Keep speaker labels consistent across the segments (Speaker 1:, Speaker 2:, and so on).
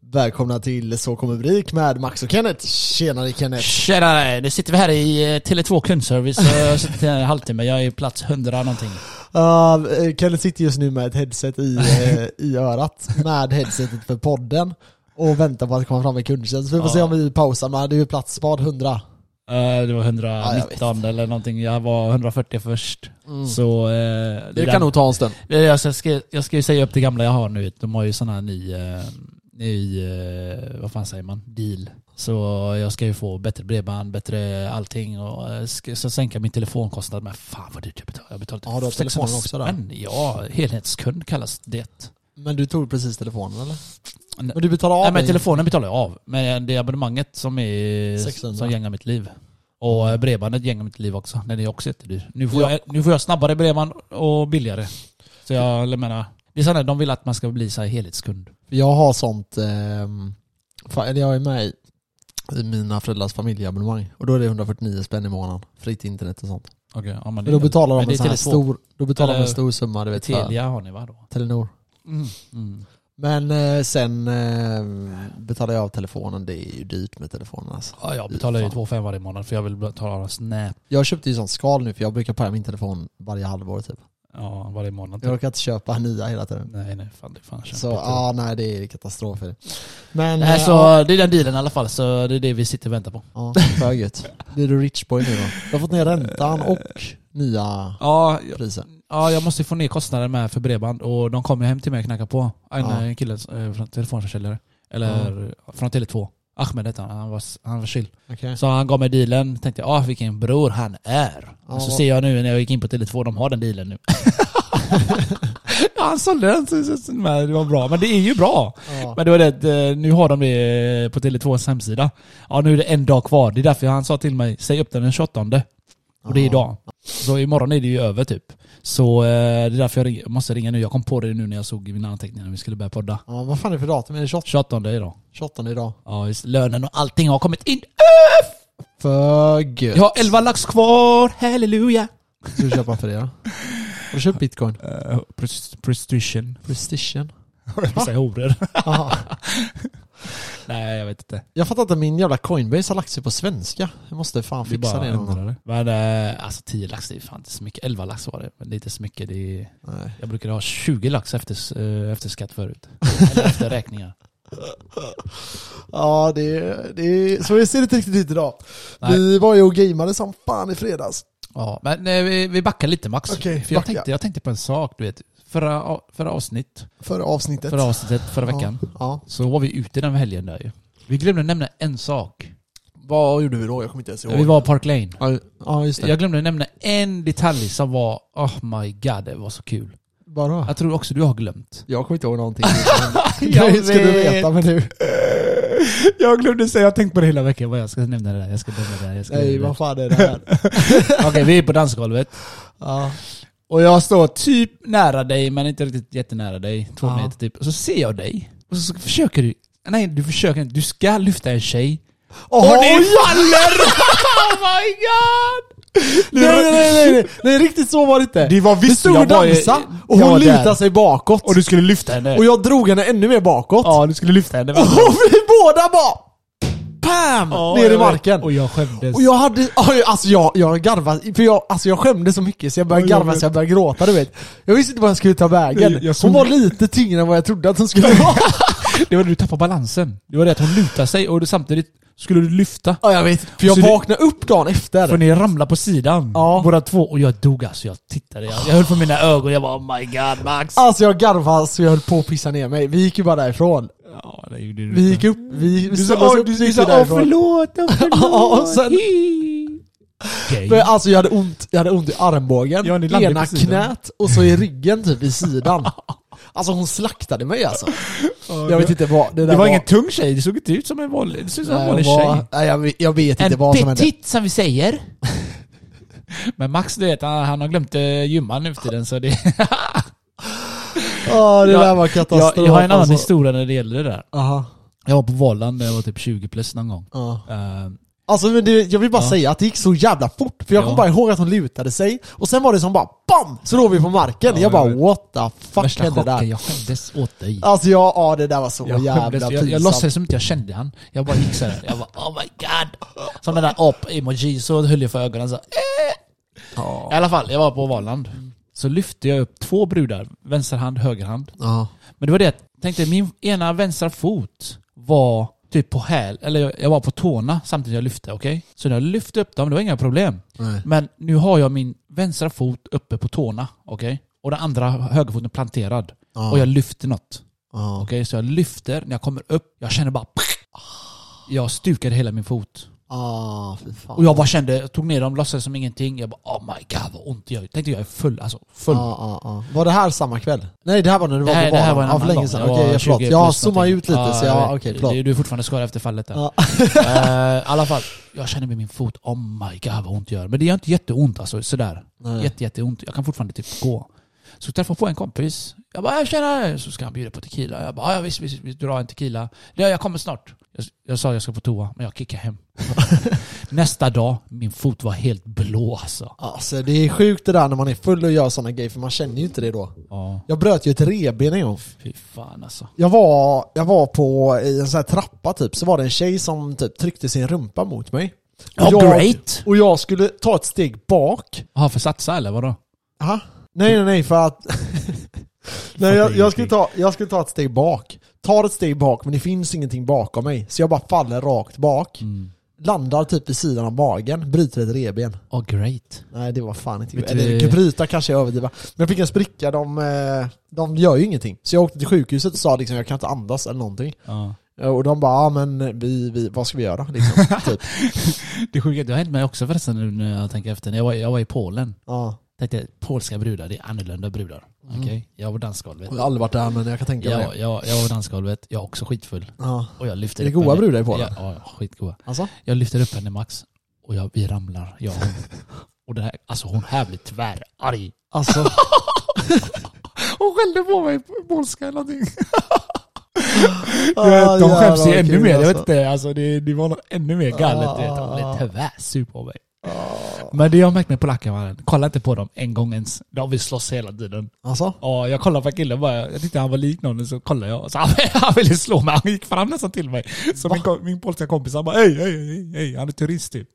Speaker 1: Välkomna till Så kommer Brik med Max och Kenneth. Tjenare Kenneth.
Speaker 2: Tjenare! Nu sitter vi här i eh, Tele2 kundservice och jag har suttit här i en halvtimme. Jag är plats 100 någonting.
Speaker 1: Ja, eh, Kenneth sitter just nu med ett headset i, eh, i örat med headsetet för podden och väntar på att komma fram med kundtjänst. Vi får
Speaker 2: Ja.
Speaker 1: se om vi pausar men det är ju platsspad 100.
Speaker 2: Eh, Det var
Speaker 1: Ja, jag Mm.
Speaker 2: 119 eller någonting. Jag var 140 först. Så... eh,
Speaker 1: Det
Speaker 2: där-
Speaker 1: kan nog ta en stund.
Speaker 2: Det är- Jag ska, jag ska ju säga upp det gamla jag har nu. De har ju sån här ny, eh, ny eh, vad fan säger man, deal. Så jag ska ju få bättre bredband, bättre allting och eh, ska, så sänka min telefonkostnad med. Fan vad dyrt jag betalar. Jag betalade
Speaker 1: Ja, du har
Speaker 2: 600
Speaker 1: telefonen också där.
Speaker 2: spänn. Ja, helhetskund kallas det.
Speaker 1: Men du tog precis telefonen eller?
Speaker 2: Nej.
Speaker 1: Men du betalar av
Speaker 2: Nej men
Speaker 1: dig.
Speaker 2: telefonen betalar jag av. Men det är abonnemanget som är
Speaker 1: 600.
Speaker 2: som gängar mitt liv. Och eh, bredbandet gängar mitt liv också. Den är också jättedyr. Nu får, jag, nu får jag snabbare bredband och billigare. Så jag, jag menar, det är sådär, de vill att man ska bli så här helhetskund.
Speaker 1: Jag har sånt, ehm, fa- eller jag är med i, i mina föräldrars familjeabonnemang och då är det 149 spänn i månaden. Fritt internet och sånt.
Speaker 2: Okej, ja, men
Speaker 1: Men då betalar
Speaker 2: men
Speaker 1: de
Speaker 2: det
Speaker 1: en
Speaker 2: är
Speaker 1: sån här
Speaker 2: Tele2.
Speaker 1: stor, då betalar de en
Speaker 2: Eller-
Speaker 1: stor summa du vet för
Speaker 2: Telia har ni va då?
Speaker 1: Telenor.
Speaker 2: Mm. Mm.
Speaker 1: Men eh, sen eh, betalar jag av telefonen, det är ju dyrt med telefonen alltså.
Speaker 2: Ja, jag betalar ju
Speaker 1: Fan.
Speaker 2: 2,5 varje månad för jag vill betala Snap
Speaker 1: Jag köpte ju sånt skal nu för jag brukar paja min telefon varje halvår typ.
Speaker 2: ja, varje månad. typ.
Speaker 1: Jag orkar inte köpa nya hela tiden.
Speaker 2: Nej nej, fan det är fan
Speaker 1: Så
Speaker 2: kämpigt.
Speaker 1: ja, nej det är katastrof. är det. Men...
Speaker 2: Nej,
Speaker 1: eh,
Speaker 2: så
Speaker 1: ja,
Speaker 2: det är den dealen i alla fall, så det är det vi sitter och väntar på.
Speaker 1: Ja, för gött. Blir du rich boy nu då? Du har fått ner räntan och nya
Speaker 2: Ja,
Speaker 1: priser.
Speaker 2: Ja, jag måste ju få ner kostnaden med för bredband och de kommer hem till mig och knackar på. En
Speaker 1: Ja.
Speaker 2: ja. kille eh, från telefonförsäljare, eller från Tele2. Ahmed hette han, han var, han var chill.
Speaker 1: Okej.
Speaker 2: Så han gav mig dealen, tänkte jag ah, vilken bror han är.
Speaker 1: Ja,
Speaker 2: och så
Speaker 1: vad-
Speaker 2: ser jag nu när jag gick in på Tele2, de har den dealen nu. ja, han sålde den, så- så- så- men det var bra. Men det är ju bra.
Speaker 1: Ja.
Speaker 2: Men det var det, att, eh, nu har de det eh, på Tele2s hemsida. Ja, nu är det en dag kvar. Det är därför han sa till mig, säg upp den den 28. Och det är idag. Så imorgon är det ju över typ. Så eh, det är därför jag ring- måste ringa nu. Jag kom på det nu när jag såg i mina anteckningar när vi skulle börja podda.
Speaker 1: Ja, vad fan är det för datum? Är det 28,
Speaker 2: 28 idag.
Speaker 1: 28 idag?
Speaker 2: Ja, just, lönen och allting har kommit in.
Speaker 1: För gött.
Speaker 2: Jag har 11 lax kvar, halleluja!
Speaker 1: Ska du köpa för det då? Har du köpt bitcoin?
Speaker 2: Uh, prostitution.
Speaker 1: Precision.
Speaker 2: Säg horor.
Speaker 1: Aha.
Speaker 2: Nej, jag vet inte.
Speaker 1: Jag fattar inte, min jävla Coinbase har lagt sig på svenska. Jag måste fan
Speaker 2: Vi
Speaker 1: fixa det någon gång.
Speaker 2: det. Men eh, alltså 10 lax, det är fan inte så mycket. 11 lax var det, men det är inte så mycket. Det är,
Speaker 1: Nej.
Speaker 2: jag brukade ha 20 lax efter, eh, efter skatt förut. Eller efter räkningar.
Speaker 1: Ja, det, det, så ser det inte riktigt ut idag.
Speaker 2: Nej.
Speaker 1: Vi var ju och gameade som fan i fredags.
Speaker 2: Ja, men eh, vi, vi backar lite Max.
Speaker 1: Okej,
Speaker 2: för jag,
Speaker 1: backa.
Speaker 2: tänkte, jag tänkte på en sak, du vet. Förra, a- förra avsnitt,
Speaker 1: Förra avsnittet.
Speaker 2: förra avsnittet, förra veckan,
Speaker 1: Ja, ja.
Speaker 2: så var vi ute den helgen där ju. Vi glömde nämna en sak.
Speaker 1: Vad gjorde vi då? Jag kommer inte ens
Speaker 2: Vi var på Park Lane.
Speaker 1: Ja, ja, just det.
Speaker 2: Jag glömde nämna en detalj som var, oh my god, det var så kul.
Speaker 1: Bara.
Speaker 2: Jag tror också du har glömt.
Speaker 1: Jag kommer inte ihåg någonting. Det ska du
Speaker 2: vet.
Speaker 1: veta men nu.
Speaker 2: Jag glömde säga, jag har tänkt på det hela veckan, vad jag ska nämna det där, jag ska nämna det där, jag ska
Speaker 1: Nej,
Speaker 2: nämna det
Speaker 1: vad
Speaker 2: där.
Speaker 1: fan är det här?
Speaker 2: Okej, vi är på dansgolvet.
Speaker 1: Ja.
Speaker 2: Och jag står typ nära dig, men inte riktigt jättenära dig. Två
Speaker 1: Ja.
Speaker 2: meter typ. Och så ser jag dig. Och så försöker du... Nej, du försöker inte. Du ska lyfta en tjej.
Speaker 1: Oh,
Speaker 2: Och det faller! oh my god!
Speaker 1: nej, nej, nej, nej, nej, nej, riktigt så var det inte.
Speaker 2: Det var visst-
Speaker 1: vi stod och
Speaker 2: jag var ju-
Speaker 1: dansade och
Speaker 2: jag
Speaker 1: hon
Speaker 2: var där.
Speaker 1: lutade sig bakåt.
Speaker 2: Och du skulle lyfta henne.
Speaker 1: Och jag drog henne ännu mer bakåt.
Speaker 2: Ja, du skulle lyfta henne.
Speaker 1: Och vi båda bara... Pam! ner i marken.
Speaker 2: Och jag skämdes.
Speaker 1: Och jag hade, oj, alltså jag, jag garvade, för jag, alltså jag skämde så mycket så jag började
Speaker 2: Ja, jag
Speaker 1: garva
Speaker 2: vet.
Speaker 1: så jag började gråta du vet. Jag visste inte vad jag skulle ta vägen.
Speaker 2: Jag- jag
Speaker 1: Hon
Speaker 2: såg-
Speaker 1: var lite tyngre än vad jag trodde att hon skulle vara.
Speaker 2: Det var det du tappade balansen. Det var det att hon lutade sig och du, samtidigt skulle du lyfta.
Speaker 1: ja jag vet. För jag
Speaker 2: Så det-
Speaker 1: vaknade upp dagen efter.
Speaker 2: För ni ramlade på sidan,
Speaker 1: Ja.
Speaker 2: båda två. Och jag dog alltså. Jag tittade. Jag, jag höll på mina ögon. Jag bara oh my god Max.
Speaker 1: Alltså jag garvade så jag höll på att pissa ner mig. Vi gick ju bara därifrån.
Speaker 2: Ja, det gjorde du.
Speaker 1: Vi gick upp, vi vi ställde oss upp, vi gick
Speaker 2: "Åh,
Speaker 1: därifrån.
Speaker 2: förlåt, åh,
Speaker 1: Ja, och sen-
Speaker 2: Hi. Okej.
Speaker 1: Men alltså jag hade ont, jag hade ont i armbågen,
Speaker 2: Ja, ni landade
Speaker 1: ena
Speaker 2: på sidan.
Speaker 1: knät och så i ryggen typ i sidan. Alltså hon slaktade mig alltså. Jag vet inte vad det där
Speaker 2: Det var ingen tung tjej, det såg inte ut som en vanlig, det såg ut som en
Speaker 1: Nej,
Speaker 2: vanlig
Speaker 1: hon var-
Speaker 2: tjej.
Speaker 1: Nej, jag, vet- jag vet inte vad som hände.
Speaker 2: petit som vi säger. Men Max du vet, han, han har glömt eh, gymma nu för tiden så det...
Speaker 1: Ja, det
Speaker 2: Jag-
Speaker 1: där var katastrof.
Speaker 2: jag, jag har en annan
Speaker 1: alltså.
Speaker 2: historia när det gäller det där.
Speaker 1: Aha.
Speaker 2: Jag var på Valand när jag var typ 20 plus någon gång.
Speaker 1: Ja.
Speaker 2: Eh,
Speaker 1: Alltså men det, jag vill bara
Speaker 2: Ja.
Speaker 1: säga att det gick så jävla fort. För jag
Speaker 2: Ja.
Speaker 1: kommer bara ihåg att hon lutade sig och sen var det som bara BAM! Så låg vi på marken.
Speaker 2: Ja,
Speaker 1: jag bara
Speaker 2: jag vet.
Speaker 1: what the fuck
Speaker 2: Värsta
Speaker 1: hände
Speaker 2: chocken,
Speaker 1: där?
Speaker 2: jag skämdes åt dig.
Speaker 1: Alltså ja, ja, det där var så
Speaker 2: Jag,
Speaker 1: jävla
Speaker 2: skämdes, jag, jag
Speaker 1: pinsamt.
Speaker 2: låtsades som inte jag kände han. Jag bara gick såhär. Jag bara oh my god. Som den där ap-emoji, så höll jag för ögonen så. här, Eh.
Speaker 1: Ja.
Speaker 2: I alla fall, jag var på Valand. Så lyfte jag upp två brudar. Vänsterhand, högerhand.
Speaker 1: Ja.
Speaker 2: Men det var det jag tänkte, min ena vänstra fot var typ på häl, eller jag- jag var på tårna samtidigt jag lyfte, okej? Så när jag lyfte upp dem, det var inga problem.
Speaker 1: Nej.
Speaker 2: Men nu har jag min vänstra fot uppe på tårna, okej? Och den andra högerfoten planterad.
Speaker 1: Ja.
Speaker 2: Och jag lyfter något.
Speaker 1: Ja.
Speaker 2: Okej, så jag lyfter, när jag kommer upp, jag känner bara... Jag stukade hela min fot.
Speaker 1: Ah, fy fan.
Speaker 2: Och jag bara kände, jag tog ner dem, låtsades som ingenting. Jag bara oh my god vad ont det gör. Tänkte jag är full, alltså full.
Speaker 1: Ja, ja, ja. Ah, Var det här samma kväll? Nej det här var när du
Speaker 2: Det
Speaker 1: var
Speaker 2: här,
Speaker 1: på
Speaker 2: det här
Speaker 1: banan.
Speaker 2: var en
Speaker 1: ja,
Speaker 2: annan
Speaker 1: för länge sedan.
Speaker 2: dag. Jag
Speaker 1: Okej,
Speaker 2: var
Speaker 1: jag, förlåt.
Speaker 2: 20
Speaker 1: Jag
Speaker 2: plus
Speaker 1: zoomade
Speaker 2: någonting.
Speaker 1: ut lite så
Speaker 2: jag
Speaker 1: jag,
Speaker 2: vet.
Speaker 1: Ah, okej förlåt.
Speaker 2: Du, du är fortfarande skadad efter fallet där.
Speaker 1: Ja.
Speaker 2: Eh, I alla fall, jag känner med min fot, oh my god vad ont det gör. Men det gör inte jätteont alltså, sådär.
Speaker 1: Nej.
Speaker 2: Jätte, jätteont. Jag kan fortfarande typ gå. Så träffade jag på en kompis. Jag bara, "Ja, tjena! Så ska han bjuda på tequila. Jag bara, ja visst, visst, vi drar en tequila. Ja, jag kommer snart. Jag, jag sa jag ska på toa, men jag kickade hem. Nästa dag, min fot var helt blå alltså.
Speaker 1: Alltså det är sjukt det där när man är full och gör sådana grejer för man känner ju inte det då.
Speaker 2: Ja,
Speaker 1: Jag bröt ju ett revben en gång.
Speaker 2: fy fan alltså.
Speaker 1: Jag var, jag var på i en sån här trappa typ, så var det en tjej som typ tryckte sin rumpa mot mig. Och
Speaker 2: Ja,
Speaker 1: jag,
Speaker 2: great!
Speaker 1: Och jag skulle ta ett steg bak.
Speaker 2: Jaha, för satsa eller vadå?
Speaker 1: Aha. Nej nej nej för att... nej jag, jag, skulle ta, jag skulle ta ett steg bak. Tar ett steg bak men det finns ingenting bakom mig. Så jag bara faller rakt bak.
Speaker 2: Mm.
Speaker 1: Landar typ vid sidan av magen, bryter ett revben.
Speaker 2: Oh great.
Speaker 1: Nej det var fan inte
Speaker 2: Vet
Speaker 1: Eller
Speaker 2: du-
Speaker 1: du... bryta kanske jag överdriver. Men jag fick en spricka, de, eh, de gör ju ingenting. Så jag åkte till sjukhuset och sa liksom jag kan inte andas eller någonting. Eh,
Speaker 2: Ja.
Speaker 1: Och de bara, ja men vi, vi, vad ska vi göra? Liksom, typ.
Speaker 2: Det sjuka, det har hänt mig också förresten nu när jag tänker efter. När jag var, jag var i Polen.
Speaker 1: ja.
Speaker 2: Tänkte polska brudar, det är annorlunda brudar. Okej, jag var på dansgolvet.
Speaker 1: Jag har aldrig varit där men jag kan tänka mig
Speaker 2: Jag,
Speaker 1: det.
Speaker 2: jag, jag var på dansgolvet, jag är också skitfull.
Speaker 1: Ja.
Speaker 2: Och jag lyfter
Speaker 1: Är det
Speaker 2: upp
Speaker 1: goa
Speaker 2: henne.
Speaker 1: brudar i Polen?
Speaker 2: Ja, ja, skitgoda.
Speaker 1: Alltså?
Speaker 2: Jag lyfter upp henne Max, och jag, vi ramlar, jag och hon. Och det här, alltså hon här blir tvärarg.
Speaker 1: Alltså,
Speaker 2: Hon skällde på mig på polska eller någonting.
Speaker 1: ah,
Speaker 2: de
Speaker 1: jävlar,
Speaker 2: skäms ju
Speaker 1: vad
Speaker 2: ännu
Speaker 1: kul,
Speaker 2: mer. Jag
Speaker 1: alltså.
Speaker 2: vet inte, alltså, det, det var något ännu mer galet. du vet. De
Speaker 1: Ah.
Speaker 2: blev tvärsur på mig. Men det jag har märkt med polacker, mannen, kolla inte på dem en gång ens. De vill slåss hela tiden.
Speaker 1: Alltså?
Speaker 2: Ja, jag kollade på killen bara, jag tyckte han var lik någon, så kollade jag. Så han, han ville slå mig, han gick fram nästan till mig. Så min, kom- min polska kompis, han bara hej, hej, hej, hej, han är turist typ.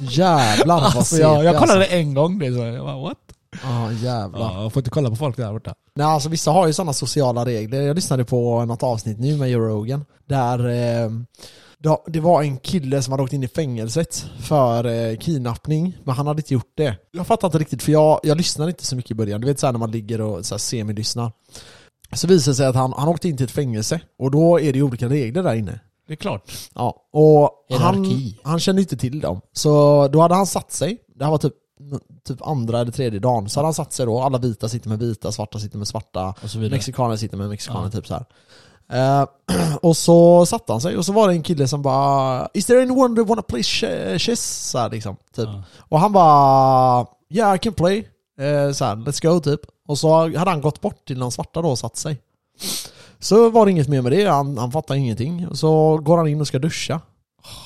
Speaker 1: Jävlar vad
Speaker 2: Alltså,
Speaker 1: segt
Speaker 2: jag, jag
Speaker 1: alltså.
Speaker 2: kollade en gång det, så jag bara what?
Speaker 1: Ja jävlar.
Speaker 2: Ja, jag får inte kolla på folk där borta.
Speaker 1: Nej, alltså vissa har ju sådana sociala regler. Jag lyssnade på något avsnitt nu med Joe Rogan. Där eh, det- det var en kille som hade åkt in i fängelset för eh, kidnappning. Men han hade inte gjort det. Jag fattar inte riktigt för jag, jag lyssnade inte så mycket i början. Du vet såhär när man ligger och så här semilyssnar. Så visade det sig att han, han åkte in till ett fängelse. Och då är det ju olika regler där inne.
Speaker 2: Det är klart.
Speaker 1: Ja, och han,
Speaker 2: Hierarki.
Speaker 1: han kände inte till dem. Så då hade han satt sig, det här var typ, typ andra eller tredje dagen, så hade han satt sig då, alla vita sitter med vita, svarta sitter med svarta,
Speaker 2: Och så vidare.
Speaker 1: mexikaner sitter med mexikaner,
Speaker 2: Ja.
Speaker 1: typ så här. Eh, och så satte han sig och så var det en kille som bara Is there anyone that wanna play ch- chess? Så här, liksom, typ.
Speaker 2: Ja.
Speaker 1: Och han bara Yeah I can play, uh, så här, let's go typ. Och så hade han gått bort till den svarta då och satt sig. Så var det inget mer med det, han, han fattar ingenting. Så går han in och ska duscha.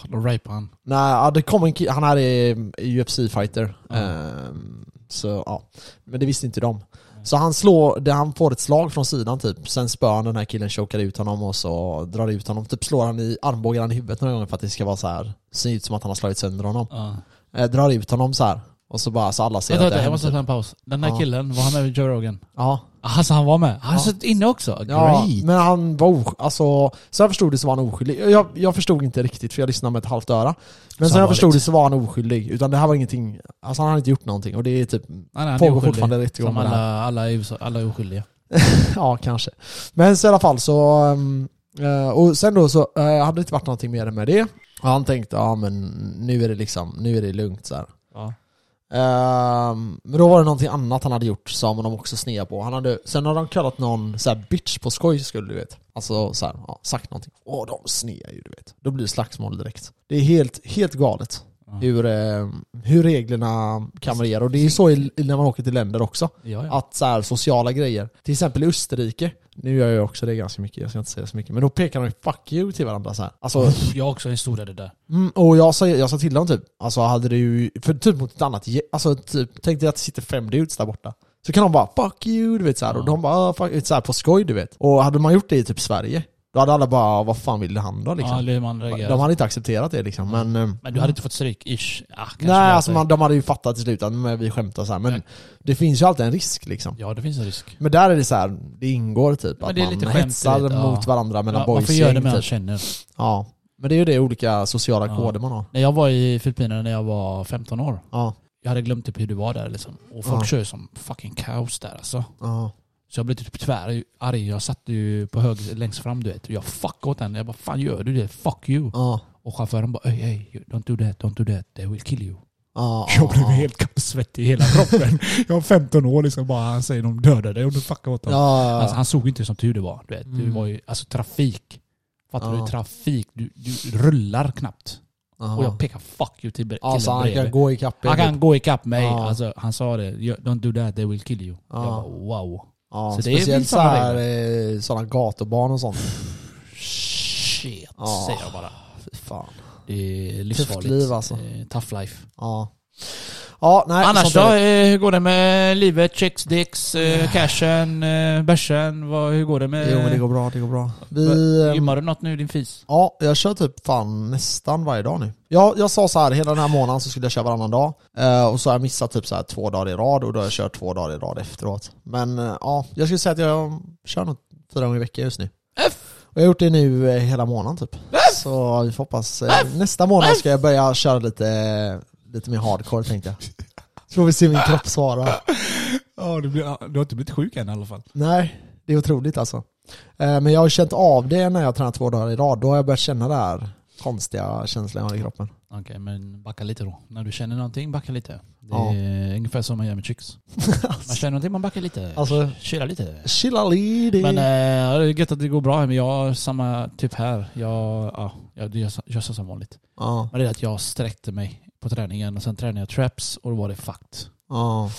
Speaker 2: Då rapar han.
Speaker 1: Nej, ja, det kom en ki- han här är UFC-fighter.
Speaker 2: Ja.
Speaker 1: Ehm, så ja, men det visste inte de. Så han slår, det- han får ett slag från sidan typ, sen spöar han den här killen, chokar ut honom och så drar ut honom. Typ slår han i armbågar han i huvudet några gånger för att det ska vara så här. se ut som att han har slagit sönder honom.
Speaker 2: Ja.
Speaker 1: Eh, drar ut honom så här. och så bara så alla ser
Speaker 2: Vänta,
Speaker 1: att det
Speaker 2: vänta,
Speaker 1: har
Speaker 2: jag
Speaker 1: hänt.
Speaker 2: måste ta en paus. Den där
Speaker 1: Ja.
Speaker 2: killen, var han med i Joe Rogan?
Speaker 1: Ja,
Speaker 2: Alltså han var med? Han
Speaker 1: Ja.
Speaker 2: satt inne också?
Speaker 1: ja
Speaker 2: Great!
Speaker 1: men han var oskyldig. Alltså, så jag förstod det så var han oskyldig. Jag, jag förstod inte riktigt för jag lyssnade med ett halvt öra. Men sen
Speaker 2: Så han
Speaker 1: jag
Speaker 2: var
Speaker 1: förstod
Speaker 2: lite-
Speaker 1: det så var han oskyldig. Utan det här var ingenting, alltså han hade inte gjort någonting och det är typ
Speaker 2: Nej, nej, han är
Speaker 1: Pågår
Speaker 2: oskyldig.
Speaker 1: fortfarande rättegång
Speaker 2: Som
Speaker 1: med det
Speaker 2: alla, alla, i USA, alla är oskyldiga.
Speaker 1: Ja, kanske. Men så i alla fall så... ehm, eh, och sen då så eh, hade det inte varit någonting mer med det. Och han tänkte, ja men nu är det liksom, nu är det lugnt så här.
Speaker 2: Ja.
Speaker 1: Ehm, men då var det någonting annat han hade gjort som de också snear på. Han hade, sen hade de kallat någon så här bitch på skoj skulle du vet. Alltså så här, ja, sagt någonting. Åh, de snear ju du vet. Då blir det slagsmål direkt. Det är helt, helt galet.
Speaker 2: Ja.
Speaker 1: Hur, eh, hur reglerna kan variera. Och det är ju så i, i- när man åker till länder också
Speaker 2: Ja, ja.
Speaker 1: att så här, sociala grejer. Till exempel i Österrike Nu gör jag också det ganska mycket, jag ska inte säga så mycket. Men då pekar de ju 'fuck you' till varandra så här. Alltså,
Speaker 2: Jag har också en historia det där.
Speaker 1: mm, och jag sa, jag sa till dem typ, alltså hade det ju, för typ mot ett annat, ge- alltså typ, tänk dig att det sitter fem dudes där borta. Så kan de bara 'fuck you' du vet så här, och de bara ah, 'fuck you' så här, på skoj du vet. Och hade man gjort det i typ Sverige, då hade alla bara "Ah, 'vad fan ville han då?'
Speaker 2: Ja,
Speaker 1: liksom.
Speaker 2: eller hur man reagerar.
Speaker 1: de hade inte accepterat det liksom, men... eh,
Speaker 2: Men du hade inte fått stryk, ish. Ah, kanske
Speaker 1: Nej,
Speaker 2: bara
Speaker 1: alltså
Speaker 2: för-
Speaker 1: man, de hade ju fattat till slut att men vi skämtar så här, men
Speaker 2: Nej.
Speaker 1: det finns ju alltid en risk liksom.
Speaker 2: Ja, det finns en risk.
Speaker 1: Men där är det så här, det ingår typ
Speaker 2: Men
Speaker 1: att
Speaker 2: det är
Speaker 1: man
Speaker 2: lite skämt
Speaker 1: hetsar
Speaker 2: lite, ja.
Speaker 1: mot varandra mellan
Speaker 2: Ja,
Speaker 1: boys
Speaker 2: varför gör det
Speaker 1: gäng,
Speaker 2: med han
Speaker 1: typ.
Speaker 2: känner?
Speaker 1: Ja. Men det är ju det olika sociala
Speaker 2: Ja.
Speaker 1: koder man har.
Speaker 2: När jag var i Filippinerna när jag var 15 år.
Speaker 1: Ja.
Speaker 2: Jag hade glömt typ hur det var där liksom. Och folk
Speaker 1: Ja.
Speaker 2: kör ju som fucking kaos där alltså.
Speaker 1: ja.
Speaker 2: Så jag blev typ tvärarg. Jag satt ju på hög längst fram du vet. Och jag fuckade åt henne. Jag bara fan gör du det? Fuck you.
Speaker 1: Ja.
Speaker 2: Och chauffören bara ey ey, don't do that, don't do that. They will kill you.
Speaker 1: Ja.
Speaker 2: Jag blev helt kappsvettig i hela kroppen. jag var 15 år liksom. Bara han säger de dödar dig om du fuckar åt dem.
Speaker 1: Ja.
Speaker 2: Alltså, han såg ju inte som tur det var. Du vet. Det
Speaker 1: Mm.
Speaker 2: var ju alltså trafik. Fattar
Speaker 1: Ja.
Speaker 2: du? Trafik. Du, du rullar knappt.
Speaker 1: ja.
Speaker 2: Och jag pekar fuck you till killen
Speaker 1: Alltså han kan
Speaker 2: bredvid.
Speaker 1: gå ikapp er,
Speaker 2: Han
Speaker 1: typ.
Speaker 2: kan gå ikapp mig.
Speaker 1: Ja.
Speaker 2: Alltså, han sa det. "You- Don't do that, they will kill you.
Speaker 1: Ja.
Speaker 2: Jag bara, wow.
Speaker 1: ja.
Speaker 2: Så det är väl
Speaker 1: Speciellt så
Speaker 2: samma
Speaker 1: här, eh, sådana gatubarn och sånt.
Speaker 2: Shit,
Speaker 1: Ja.
Speaker 2: säger jag bara.
Speaker 1: Fy fan.
Speaker 2: Det är livsfarligt.
Speaker 1: liv, alltså.
Speaker 2: Eh, Tough life.
Speaker 1: Ja. Ja, nej.
Speaker 2: Annars
Speaker 1: sånt är
Speaker 2: då?
Speaker 1: det.
Speaker 2: eh, Hur går det med livet? Checks, dicks, eh, cashen, eh, bärsen? Vad- Hur går det med...
Speaker 1: Jo men det går bra, det går bra. Vi... ehm,
Speaker 2: Gymmar du något nu din fis?
Speaker 1: Ja, jag kör typ fan nästan varje dag nu. Jag, jag sa så här, hela den här månaden så skulle jag köra varannan dag. Eh, och så har jag missat typ så här två dagar i rad och då har jag kört två dagar i rad efteråt. Men eh, ja, jag skulle säga att jag kör nog fyra gånger i veckan just nu. Och jag har gjort det nu eh, hela månaden typ. Så vi får hoppas. Eh, nästa månad ska jag börja köra lite, lite mer hardcore tänkte jag. Så får vi se hur min kropp svarar.
Speaker 2: Ja, du, du har inte blivit sjuk än i alla fall.
Speaker 1: Nej, det är otroligt alltså. Eh, Men jag har känt av det när jag tränat två dagar i rad. Då har jag börjat känna det här konstiga känslan jag har i kroppen.
Speaker 2: Okej, men backa lite då. När du känner någonting, backa lite. Det
Speaker 1: Ja.
Speaker 2: är ungefär som man gör med chicks. Man känner någonting, man backar lite.
Speaker 1: Alltså,
Speaker 2: Chilla lite.
Speaker 1: chilla lite.
Speaker 2: Men eh, det är gött att det går bra här, men jag har samma typ här. Jag, ja, jag, jag, jag kör som vanligt.
Speaker 1: ja,
Speaker 2: Men det är att jag sträckte mig på träningen och sen tränade jag traps och då var det fucked.
Speaker 1: ja,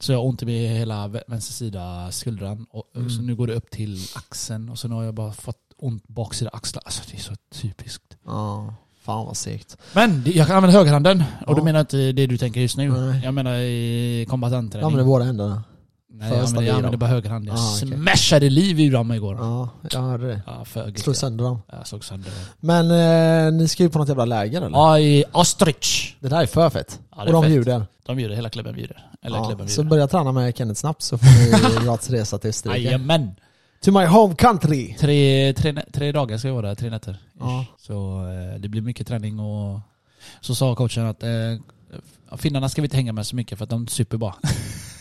Speaker 2: Så jag har ont i hela vä- vänster sida skuldran. Och, och Så
Speaker 1: Mm.
Speaker 2: nu går det upp till axeln och sen har jag bara fått ont baksida axlar. Alltså det är så typiskt.
Speaker 1: ja. Fan vad segt.
Speaker 2: Men det- jag kan använda högerhanden. Och
Speaker 1: Ja.
Speaker 2: då menar jag inte det du tänker just nu.
Speaker 1: Nej.
Speaker 2: Jag menar i
Speaker 1: Jag använder
Speaker 2: kombatantträning.
Speaker 1: båda händerna.
Speaker 2: Nej, jag
Speaker 1: första
Speaker 2: använder, jag
Speaker 1: i
Speaker 2: använder
Speaker 1: dem.
Speaker 2: bara högerhanden. Jag
Speaker 1: Ah, okej.
Speaker 2: smashade liv ur dem igår.
Speaker 1: Ja, jag hörde det.
Speaker 2: Ja, för gött.
Speaker 1: Slå sönder dem.
Speaker 2: Jag slog sönder dem.
Speaker 1: Men eh, ni ska ju på något jävla läger eller?
Speaker 2: Ja, i Ostrich.
Speaker 1: Det där är för fett.
Speaker 2: Ja, det
Speaker 1: Och
Speaker 2: är
Speaker 1: de
Speaker 2: fett.
Speaker 1: bjuder.
Speaker 2: De bjuder, hela klubben bjuder. Eller
Speaker 1: Ja,
Speaker 2: klubben
Speaker 1: så
Speaker 2: bjuder.
Speaker 1: börja träna med Kenneth snabbt så får ni gratis resa till Österrike.
Speaker 2: Jajamän!
Speaker 1: To my home country!
Speaker 2: Tre, tre, nä- tre dagar ska jag vara där, tre nätter.
Speaker 1: Ja.
Speaker 2: Så eh, det blir mycket träning och så sa coachen att eh, finnarna ska vi inte hänga med så mycket för att de super bara.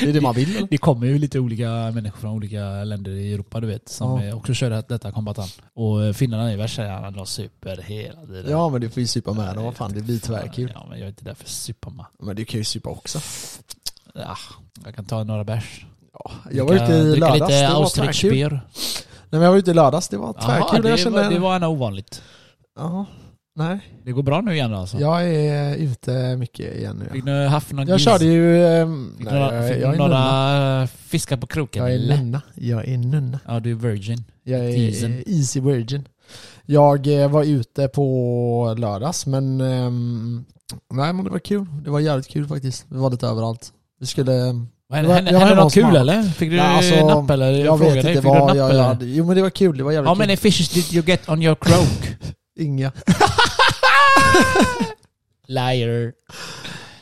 Speaker 1: Det är det man vill eller?
Speaker 2: Det kommer ju lite olika människor från olika länder i Europa du vet som
Speaker 1: Ja.
Speaker 2: eh, också kör det- detta kombatan. Och eh, finnarna är värsta jävlarna, de super hela tiden.
Speaker 1: Ja men du får ju supa med dem, vad fan det blir tyvärr kul.
Speaker 2: Ja men jag är inte där för att supa man.
Speaker 1: Men du kan ju supa också.
Speaker 2: Ah, jag kan ta några bärs.
Speaker 1: Ja, jag var ute
Speaker 2: Dricka-
Speaker 1: i
Speaker 2: dricka
Speaker 1: lördags, det
Speaker 2: lite
Speaker 1: var tvärkul.
Speaker 2: Austrichbier.
Speaker 1: Nej men jag var ute i lördags, det var
Speaker 2: Jaha,
Speaker 1: tvärkul.
Speaker 2: det,
Speaker 1: Jag
Speaker 2: var- det
Speaker 1: kände...
Speaker 2: var en ovanligt.
Speaker 1: Ja, nej.
Speaker 2: Det går bra nu igen alltså?
Speaker 1: Jag är ute mycket igen nu.
Speaker 2: Fick ni haft någon
Speaker 1: Jag
Speaker 2: gris?
Speaker 1: körde ju... ehm,
Speaker 2: Fick
Speaker 1: Nej,
Speaker 2: några,
Speaker 1: jag,
Speaker 2: fick
Speaker 1: jag är nunna.
Speaker 2: några fiskar på kroken?
Speaker 1: Jag är
Speaker 2: eller?
Speaker 1: nunna. Jag är nunna.
Speaker 2: Ja, du är virgin.
Speaker 1: Jag är
Speaker 2: Teasen.
Speaker 1: easy virgin. Jag eh, var ute på lördags men... ehm, Nej men det var kul. Det var jävligt kul faktiskt. Vi var lite överallt. Vi skulle...
Speaker 2: Vad Hände,
Speaker 1: Jag-
Speaker 2: hände,
Speaker 1: jag
Speaker 2: hände
Speaker 1: var
Speaker 2: något
Speaker 1: någon
Speaker 2: kul
Speaker 1: som-
Speaker 2: eller? Fick du
Speaker 1: Nej, alltså,
Speaker 2: napp eller? Jag,
Speaker 1: Jag
Speaker 2: frågade
Speaker 1: vet
Speaker 2: dig,
Speaker 1: inte
Speaker 2: fick du napp
Speaker 1: vad jag...
Speaker 2: eller?
Speaker 1: jag jo men det var kul. Det var jävligt
Speaker 2: How
Speaker 1: kul.
Speaker 2: many fishes did you get on your croak?
Speaker 1: Inga.
Speaker 2: Liar.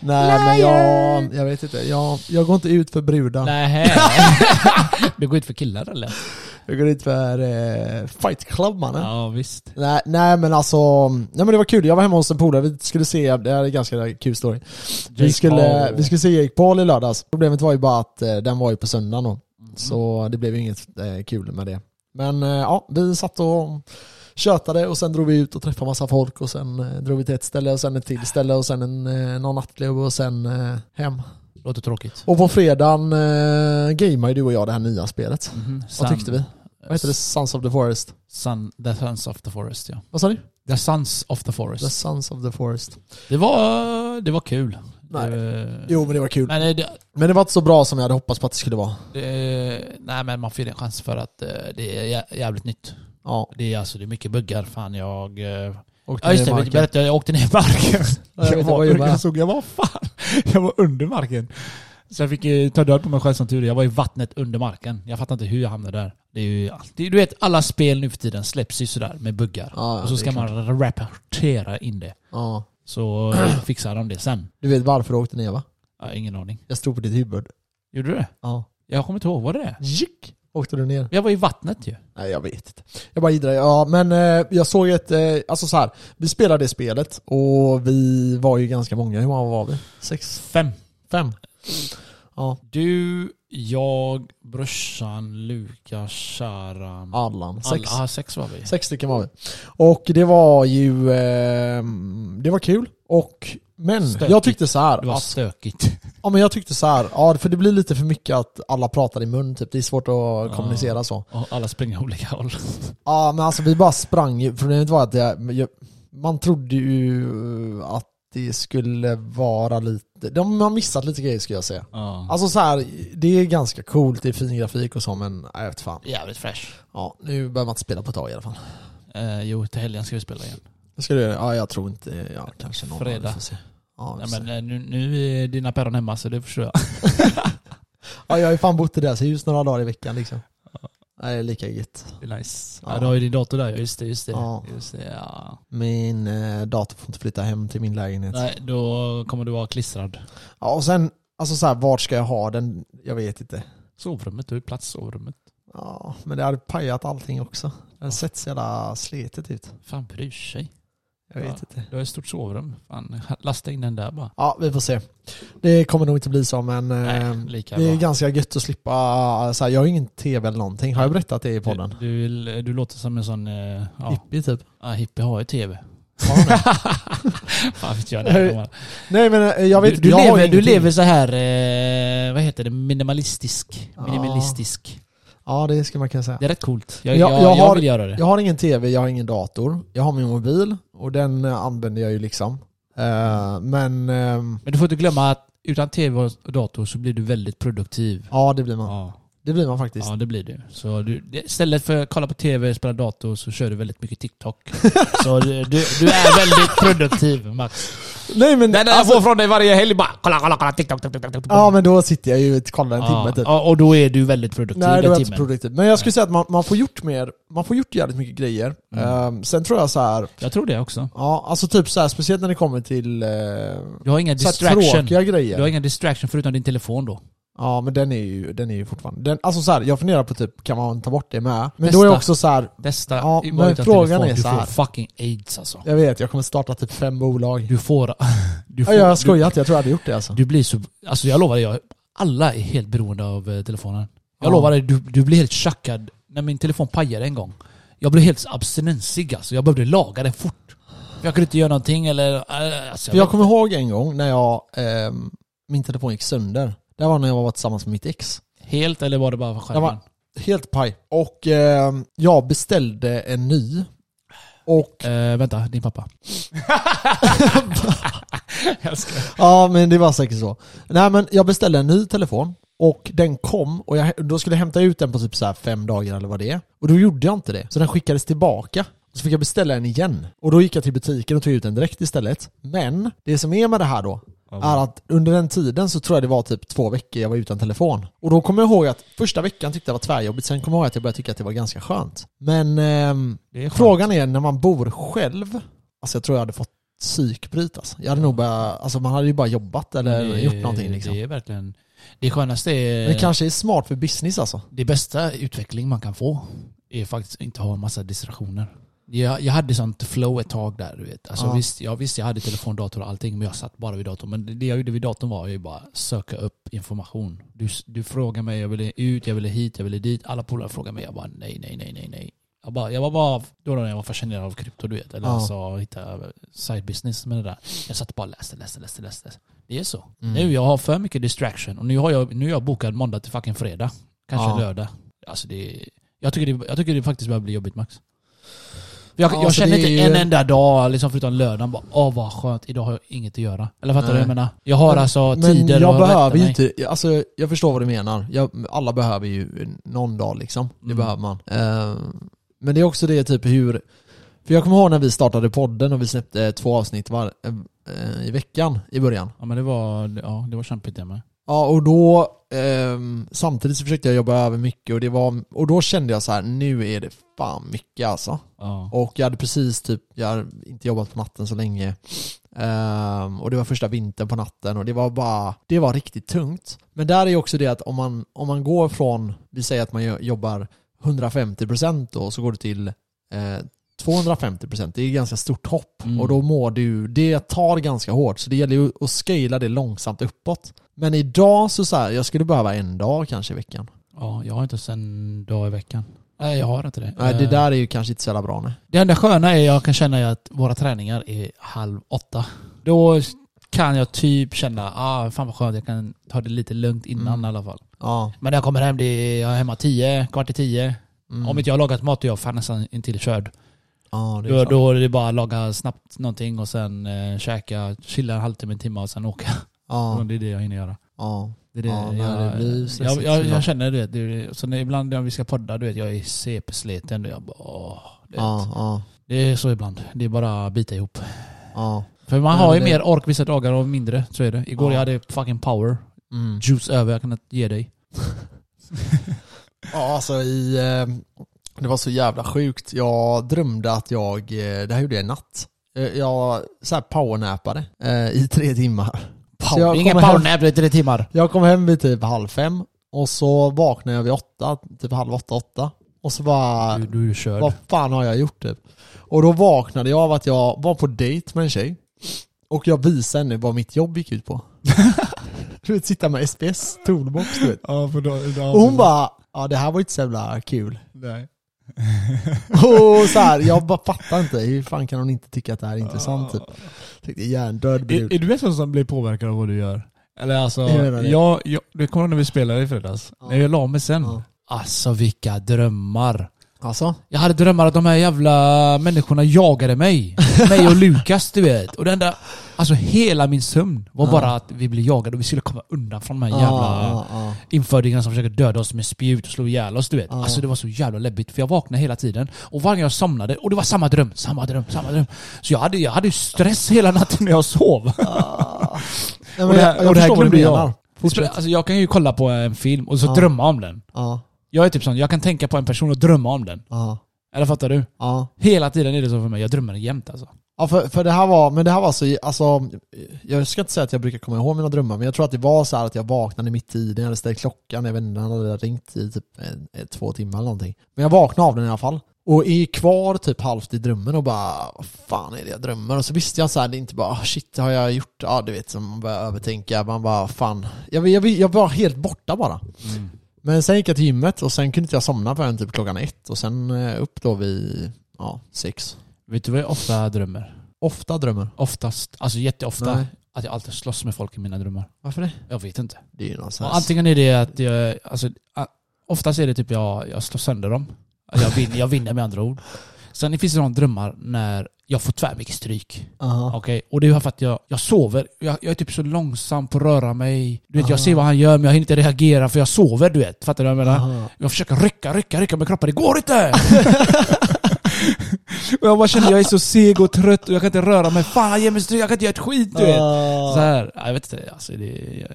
Speaker 1: Nej men jag... Jag vet inte. Jag, jag går inte ut för brudar.
Speaker 2: Nähä. du går ut för killar eller?
Speaker 1: Jag går ut för eh, fight club mannen.
Speaker 2: Ja, visst.
Speaker 1: Nej, nej men alltså, nej men det var kul. Jag var hemma hos en polare, vi skulle se, det här är en ganska kul story. Vi
Speaker 2: Jake
Speaker 1: skulle,
Speaker 2: Paul.
Speaker 1: vi skulle se Jake Paul i lördags. Problemet var ju bara att eh, den var ju på söndagen då. Så
Speaker 2: Mm.
Speaker 1: det blev ju inget eh, kul med det. Men eh, ja, vi satt och tjötade och sen drog vi ut och träffade massa folk och sen eh, drog vi till ett ställe och sen ett till ställe och sen en, eh, någon nattklubb och sen eh, hem.
Speaker 2: Låter tråkigt.
Speaker 1: Och på fredagen eh, gameade ju du och jag det här nya spelet.
Speaker 2: Mhm.
Speaker 1: Vad
Speaker 2: Sun-
Speaker 1: tyckte vi? Vad heter det? Sons of the Forest?
Speaker 2: Sun, the Sons of the Forest, ja.
Speaker 1: Vad sa du?
Speaker 2: The Sons of the
Speaker 1: The
Speaker 2: Forest.
Speaker 1: Sons of the Forest.
Speaker 2: Det var, det var kul.
Speaker 1: Nej.
Speaker 2: Eh,
Speaker 1: Jo men det var kul.
Speaker 2: Men eh, det,
Speaker 1: Men det var inte så bra som jag hade hoppats på att det skulle vara.
Speaker 2: det, nej men man får ju en chans för att eh, det är jä- jävligt nytt.
Speaker 1: Ja.
Speaker 2: Det är alltså det är mycket buggar. Fan jag... eh,
Speaker 1: Åkte
Speaker 2: Ja
Speaker 1: ner i
Speaker 2: just det,
Speaker 1: marken.
Speaker 2: jag berättade jag åkte ner i marken.
Speaker 1: Ja, jag vet, vad gjorde jag?
Speaker 2: såg jag var fan, jag var under marken. Så jag fick eh, ta död på mig själv som tur är. Jag var i vattnet under marken. Jag fattar inte hur jag hamnade där. Det är ju alltid, du vet alla spel nu för tiden släpps ju sådär med buggar.
Speaker 1: Ja, ja,
Speaker 2: och så
Speaker 1: det
Speaker 2: ska
Speaker 1: är
Speaker 2: man rapportera in det.
Speaker 1: Ja.
Speaker 2: Så fixar de det sen.
Speaker 1: Du vet varför du åkte ner va?
Speaker 2: Ja, ingen aning.
Speaker 1: Jag stod på ditt huvud.
Speaker 2: Gjorde du det?
Speaker 1: Ja.
Speaker 2: Jag kommer inte ihåg, var det det?
Speaker 1: Jick! Åkte du ner?
Speaker 2: Jag var i vattnet ju.
Speaker 1: Nej jag vet inte. Jag bara idrar. Ja men eh, jag såg ett, eh, alltså så här. Vi spelade det spelet och vi var ju ganska många. Hur många var vi? Sex?
Speaker 2: Fem.
Speaker 1: Fem? Ja.
Speaker 2: Du, jag, brorsan, Lukas, Sharam.
Speaker 1: Allan. Sex.
Speaker 2: Alla, ah, sex var vi.
Speaker 1: Sex stycken var vi. Och det var ju, eh, det var kul. Och, men
Speaker 2: Stökigt.
Speaker 1: jag tyckte så här.
Speaker 2: Det var
Speaker 1: att-
Speaker 2: stökigt.
Speaker 1: Ja men jag tyckte så här, ja för det blir lite för mycket att alla pratar i mun typ, det är svårt att kommunicera så.
Speaker 2: Och alla springer olika håll.
Speaker 1: Ja men alltså vi bara sprang ju, problemet var att det, jag, man trodde ju att det skulle vara lite, de har missat lite grejer skulle jag säga.
Speaker 2: Ja.
Speaker 1: Alltså så här, det är ganska coolt, det är fin grafik och så men nej, jag vet fan.
Speaker 2: Jävligt fresh.
Speaker 1: Ja, nu behöver man inte spela på ett tag i alla fall.
Speaker 2: Eh, jo, till helgen ska vi spela igen.
Speaker 1: Ska du, ja jag tror inte, ja kanske någon
Speaker 2: Fredag.
Speaker 1: vi får se. Ja, vi
Speaker 2: Nej,
Speaker 1: får se.
Speaker 2: men, eh, nu, nu är dina päron hemma så det förstår jag.
Speaker 1: ja, jag har ju fan bott i deras hus några dagar i veckan liksom. Nej, det är lika gött.
Speaker 2: Det är nice. Ja.
Speaker 1: Ja.
Speaker 2: du har ju din dator där, just det. Just det.
Speaker 1: Ja.
Speaker 2: Just det ja.
Speaker 1: Min eh, dator får inte flytta hem till min lägenhet.
Speaker 2: Nej, då kommer du vara klistrad.
Speaker 1: Ja, och sen, alltså så här, vart ska jag ha den? Jag vet inte.
Speaker 2: Sovrummet, du har ju plats i sovrummet.
Speaker 1: Ja, men det hade pajat allting också. Den har sett så jävla sletet ut.
Speaker 2: Fan bryr sig.
Speaker 1: Jag vet
Speaker 2: Ja.
Speaker 1: inte.
Speaker 2: Du har ett stort sovrum. Fan, lasta in den där bara.
Speaker 1: Ja, vi får se. Det kommer nog inte bli så, men eh,
Speaker 2: Nej, lika
Speaker 1: det är
Speaker 2: bra.
Speaker 1: ganska gött att slippa, eh, så här, jag har ingen tv eller någonting. Har jag berättat det i podden?
Speaker 2: Du, du, du låter som en sån... eh, Typ. ja,
Speaker 1: Hippie typ.
Speaker 2: ah, hippie har ju tv.
Speaker 1: Har hon det?
Speaker 2: Fan vet jag det. här.
Speaker 1: Nej men eh, jag vet
Speaker 2: du, du,
Speaker 1: jag har
Speaker 2: lever, du
Speaker 1: ingenting.
Speaker 2: lever så här, eh, vad heter det, minimalistisk.
Speaker 1: Ja.
Speaker 2: Minimalistisk.
Speaker 1: Ja, det skulle man kunna säga.
Speaker 2: Det är rätt coolt. Jag,
Speaker 1: Jag-
Speaker 2: jag,
Speaker 1: jag
Speaker 2: jag,
Speaker 1: har-
Speaker 2: vill göra det.
Speaker 1: Jag har ingen tv, jag har ingen dator. Jag har min mobil och den eh, använder jag ju liksom. Eh, men ehm,
Speaker 2: Men du får inte glömma att utan tv och dator så blir du väldigt produktiv.
Speaker 1: ja, det blir man.
Speaker 2: Ja,
Speaker 1: Det blir man faktiskt.
Speaker 2: ja det blir du. Så du, det- istället för att kolla på tv och spela dator så kör du väldigt mycket TikTok. så du, du, du är väldigt produktiv Max.
Speaker 1: Nej men,
Speaker 2: Den jag får från dig varje helg bara kolla, kolla, kolla TikTok, TikTok, TikTok. TikTok.
Speaker 1: ja, men då sitter jag ju och kollar en
Speaker 2: Ja,
Speaker 1: timme typ.
Speaker 2: ja, och då är du väldigt produktiv
Speaker 1: Nej, då är
Speaker 2: den
Speaker 1: jag inte
Speaker 2: timmen.
Speaker 1: produktiv. Men jag skulle säga att man, man får gjort mer, man får gjort jävligt mycket grejer.
Speaker 2: Mm.
Speaker 1: Ehm, sen tror jag så här,
Speaker 2: jag tror det också.
Speaker 1: ja alltså typ så här, speciellt när det kommer till eh,
Speaker 2: Du har inga
Speaker 1: så här
Speaker 2: distraction.
Speaker 1: tråkiga
Speaker 2: Du har
Speaker 1: grejer.
Speaker 2: inga distraction förutom din telefon då.
Speaker 1: Ja men den är ju, den är ju fortfarande, den, alltså så här, jag funderar på typ, kan man ta bort det med? Men då är
Speaker 2: Testa.
Speaker 1: jag också så här,
Speaker 2: Bästa
Speaker 1: Ja,
Speaker 2: i-
Speaker 1: men
Speaker 2: varit att
Speaker 1: frågan
Speaker 2: telefon,
Speaker 1: är
Speaker 2: Du
Speaker 1: så här.
Speaker 2: får fucking aids alltså.
Speaker 1: jag vet, jag kommer starta typ fem bolag.
Speaker 2: Du får... Du
Speaker 1: Ja,
Speaker 2: får
Speaker 1: jag har skojat, jag tror jag hade gjort det alltså.
Speaker 2: Du, du blir så... Alltså jag lovar dig, jag, alla är helt beroende av eh, telefonen. Jag
Speaker 1: Ja.
Speaker 2: lovar dig, du, du blir helt chockad. När min telefon pajade en gång. Jag blev helt abstinensig alltså. Jag behövde laga den fort. Jag kunde inte göra någonting eller... eh, Alltså,
Speaker 1: För jag kommer ihåg en gång när jag, ehm, min telefon gick sönder. Det var när jag var tillsammans med mitt ex.
Speaker 2: Helt eller var det bara för skärmen?
Speaker 1: Jag var helt paj. Och eh, jag beställde en ny. Och
Speaker 2: Eh, vänta, din pappa. jag ska...
Speaker 1: ja, men det var säkert så. Nej men jag beställde en ny telefon. Och den kom och jag, då skulle jag hämta ut den på typ så här fem dagar eller vad det är. Och då gjorde jag inte det. Så den skickades tillbaka. Så fick jag beställa en igen. Och då gick jag till butiken och tog ut den direkt istället. Men det som är med det här då, är att under den tiden så tror jag det var typ två veckor jag var utan telefon. Och då kommer jag ihåg att första veckan tyckte jag var tvärjobbigt, sen kommer jag ihåg att jag började tycka att det var ganska skönt. Men ehm,
Speaker 2: Det är skönt.
Speaker 1: frågan är, när man bor själv, alltså jag tror jag hade fått psykbryt alltså. Jag hade nog börjat, alltså man hade ju bara jobbat eller
Speaker 2: Det-
Speaker 1: gjort någonting liksom.
Speaker 2: Det är verkligen... Det skönaste
Speaker 1: Men
Speaker 2: är...
Speaker 1: det kanske är smart för business alltså.
Speaker 2: det bästa utveckling man kan få är faktiskt att inte ha en massa distraktioner. Jag, jag hade sånt flow ett tag där. Du vet. Alltså,
Speaker 1: Ja.
Speaker 2: visst, jag, visst, jag hade telefon, dator och allting, men jag satt bara vid datorn. Men det jag gjorde vid datorn var ju bara söka upp information. Du, s- du frågade mig, jag ville ut, jag ville hit, jag ville dit. Alla polare frågade mig, jag bara nej, nej, nej, nej, nej. Jag, bara, jag var bara, då när jag var fascinerad av krypto, du vet. Eller
Speaker 1: Ja.
Speaker 2: alltså hitta side business med det där. Jag satt och bara och läste, läste, läste, läste. Det är så.
Speaker 1: Mm.
Speaker 2: Nu jag har för mycket distraction och nu har jag, nu är jag bokad måndag till fucking fredag. Kanske
Speaker 1: Ja.
Speaker 2: lördag. Alltså det, jag, tycker det, jag tycker det faktiskt börjar bli jobbigt Max. Jag,
Speaker 1: Ja,
Speaker 2: jag
Speaker 1: så
Speaker 2: känner
Speaker 1: det är
Speaker 2: inte
Speaker 1: ju-
Speaker 2: en enda dag, liksom förutom lördagen, bara åh vad skönt, idag har jag inget att göra. Eller fattar du vad jag
Speaker 1: Nej.
Speaker 2: menar? Jag har alltså
Speaker 1: Men
Speaker 2: tider
Speaker 1: jag
Speaker 2: att rätta
Speaker 1: behöver ju
Speaker 2: mig.
Speaker 1: inte, alltså jag förstår vad du menar. Jag, alla behöver ju någon dag liksom. Det
Speaker 2: Mm.
Speaker 1: behöver man. Eh, men det är också det typ hur, för jag kommer ihåg när vi startade podden och vi släppte två avsnitt var, eh, i veckan i början.
Speaker 2: Ja men det var, ja, det var kämpigt det med.
Speaker 1: Ja och då, ehm, samtidigt så försökte jag jobba över mycket och det var, och då kände jag så här: nu är det fan mycket alltså.
Speaker 2: Ja.
Speaker 1: Och jag hade precis typ, jag hade inte jobbat på natten så länge. Ehm, och det var första vintern på natten och det var bara, det var riktigt tungt. Men där är ju också det att om man, om man går från, vi säger att man jo- jobbar 150% då, så går du till eh, 250%. Det är ett ganska stort hopp.
Speaker 2: Mm.
Speaker 1: Och då mår du, det tar ganska hårt. Så det gäller ju att scala det långsamt uppåt. Men idag så, så här, jag skulle behöva en dag kanske i veckan.
Speaker 2: ja, jag har inte sen en dag i veckan. Nej jag har inte det.
Speaker 1: Nej, det
Speaker 2: Eh,
Speaker 1: där är ju kanske inte så jävla bra nu.
Speaker 2: det enda sköna är jag kan känna är att våra träningar är halv åtta. Då kan jag typ känna, ah fan vad skönt, jag kan ta det lite lugnt innan
Speaker 1: Mm.
Speaker 2: i alla fall.
Speaker 1: Ja.
Speaker 2: Men när jag kommer hem, det är, jag är hemma tio, kvart i tio.
Speaker 1: Mm.
Speaker 2: Om inte jag har lagat mat är jag fan nästan intill körd.
Speaker 1: ja, det är
Speaker 2: Då,
Speaker 1: så.
Speaker 2: då är det bara att laga snabbt någonting och sen eh, käka, chilla en halvtimme, en timme och sen åka.
Speaker 1: Ja.
Speaker 2: Det är det jag hinner göra.
Speaker 1: Ja.
Speaker 2: Det är det
Speaker 1: Ja, nej,
Speaker 2: jag,
Speaker 1: det blir
Speaker 2: jag,
Speaker 1: stressigt
Speaker 2: jag, jag
Speaker 1: såklart.
Speaker 2: känner det. det, är- så när, ibland när vi ska podda, du vet, jag är CP-sliten. Jag bara, åh, du vet.
Speaker 1: Ja, ja,
Speaker 2: Det är så ibland. Det är bara att bita ihop.
Speaker 1: ja.
Speaker 2: För man
Speaker 1: Ja,
Speaker 2: har ju
Speaker 1: det-
Speaker 2: mer ork vissa dagar och mindre. Så är det. Igår
Speaker 1: Ja.
Speaker 2: jag hade fucking power.
Speaker 1: Mm.
Speaker 2: Juice över jag kunnat ge dig.
Speaker 1: Ja, alltså i... eh, Det var så jävla sjukt. Jag drömde att jag... eh, Det här gjorde jag i natt. Eh, Jag så här powernäpade eh, i tre timmar.
Speaker 2: Power.
Speaker 1: jag
Speaker 2: Det är ingen
Speaker 1: kommer hem-
Speaker 2: powernap, det är tre timmar.
Speaker 1: Jag kom hem vid typ halv fem och så vaknade jag vid åtta, typ halv åtta, åtta. Och så bara...
Speaker 2: Du, du är körd.
Speaker 1: Vad fan har jag gjort typ? Och då vaknade jag av att jag var på dejt med en tjej och jag visade henne vad mitt jobb gick ut på. du vet, sitta med SPS, toolbox du vet.
Speaker 2: Ja, för då, då,
Speaker 1: Och hon bara, ja det här var inte så jävla kul.
Speaker 2: Nej.
Speaker 1: Och så här, jag bara fattar inte, hur fan kan hon inte tycka att det här är intressant typ? Tänkte hjärndöd brud.
Speaker 3: Är, är du en sån som blir påverkad av vad du gör? Eller alltså,
Speaker 1: Jag menar det.
Speaker 3: jag, jag, det kommer när vi spelade i fredags.
Speaker 1: Ja.
Speaker 3: När jag la mig sen.
Speaker 1: Ja.
Speaker 2: Alltså vilka drömmar.
Speaker 1: Alltså?
Speaker 2: Jag hade drömmar att de här jävla människorna jagade mig. Mig och Lukas du vet. Och den där, alltså hela min sömn var
Speaker 1: Ja.
Speaker 2: bara att vi blev jagade och vi skulle komma undan från de här jävla
Speaker 1: Ja, ja,
Speaker 2: infödingarna som försöker döda oss med spjut och slå ihjäl oss du vet.
Speaker 1: Ja.
Speaker 2: Alltså det var så jävla läbbigt för jag vaknade hela tiden och varje gång jag somnade och det var samma dröm, samma dröm, samma dröm. Så jag hade ju jag hade ju stress hela natten när jag sov.
Speaker 1: ja.
Speaker 2: Och det här-
Speaker 1: jag, jag
Speaker 2: och det här
Speaker 1: förstår vad du
Speaker 2: glömde jag.
Speaker 1: menar. Fortsätt.
Speaker 2: Alltså jag kan ju kolla på en film och så
Speaker 1: Ja.
Speaker 2: drömma om den.
Speaker 1: Ja,
Speaker 2: Jag är typ sån, jag kan tänka på en person och drömma om den.
Speaker 1: ja,
Speaker 2: Eller fattar du?
Speaker 1: ja.
Speaker 2: Hela tiden är det så för mig, jag drömmer jämt alltså.
Speaker 1: Ja för, för det här var, men det här var så, alltså, jag ska inte säga att jag brukar komma ihåg mina drömmar men jag tror att det var så här att jag vaknade mitt i den, jag hade ställt klockan, jag vet inte, den hade ringt i typ eh, två timmar eller någonting. Men jag vaknade av den i alla fall. Och är kvar typ halvt i drömmen och bara vad fan är det jag drömmer? Och så visste jag så här, det är inte bara ah, shit har jag gjort, ja du vet, som man börjar övertänka, man bara fan. Jag, jag, jag var helt borta bara. Men sen gick jag till gymmet och sen kunde inte jag somna förrän typ klockan ett och sen eh, upp då vid, ja, sex.
Speaker 2: Vet du vad jag ofta drömmer?
Speaker 1: Ofta drömmer.
Speaker 2: Oftast, alltså jätteofta,
Speaker 1: Nej.
Speaker 2: att jag alltid slåss med folk i mina drömmar.
Speaker 1: Varför det?
Speaker 2: Jag vet inte.
Speaker 1: Det är ju någon slags...
Speaker 2: Och antingen är det att jag, alltså, a- oftast är det typ jag, jag slår sönder dem. Alltså, jag, vinner, jag vinner med andra ord. Sen finns det de drömmar när jag får tvär mycket stryk.
Speaker 1: Aha.
Speaker 2: Okej, och det är för att jag, jag sover. Jag, jag är typ så långsam på att röra mig. Du vet,
Speaker 1: Ah.
Speaker 2: jag ser vad han gör men jag hinner inte reagera för jag sover du vet. Fattar du vad jag menar?
Speaker 1: Aha.
Speaker 2: Jag försöker rycka, rycka, rycka med kroppen. Det går inte! och jag bara känner jag är så seg och trött och jag kan inte röra mig. Fan ge mig stryk, jag kan inte göra ett skit du vet.
Speaker 1: Ah.
Speaker 2: Så här, jag vet inte, alltså, det,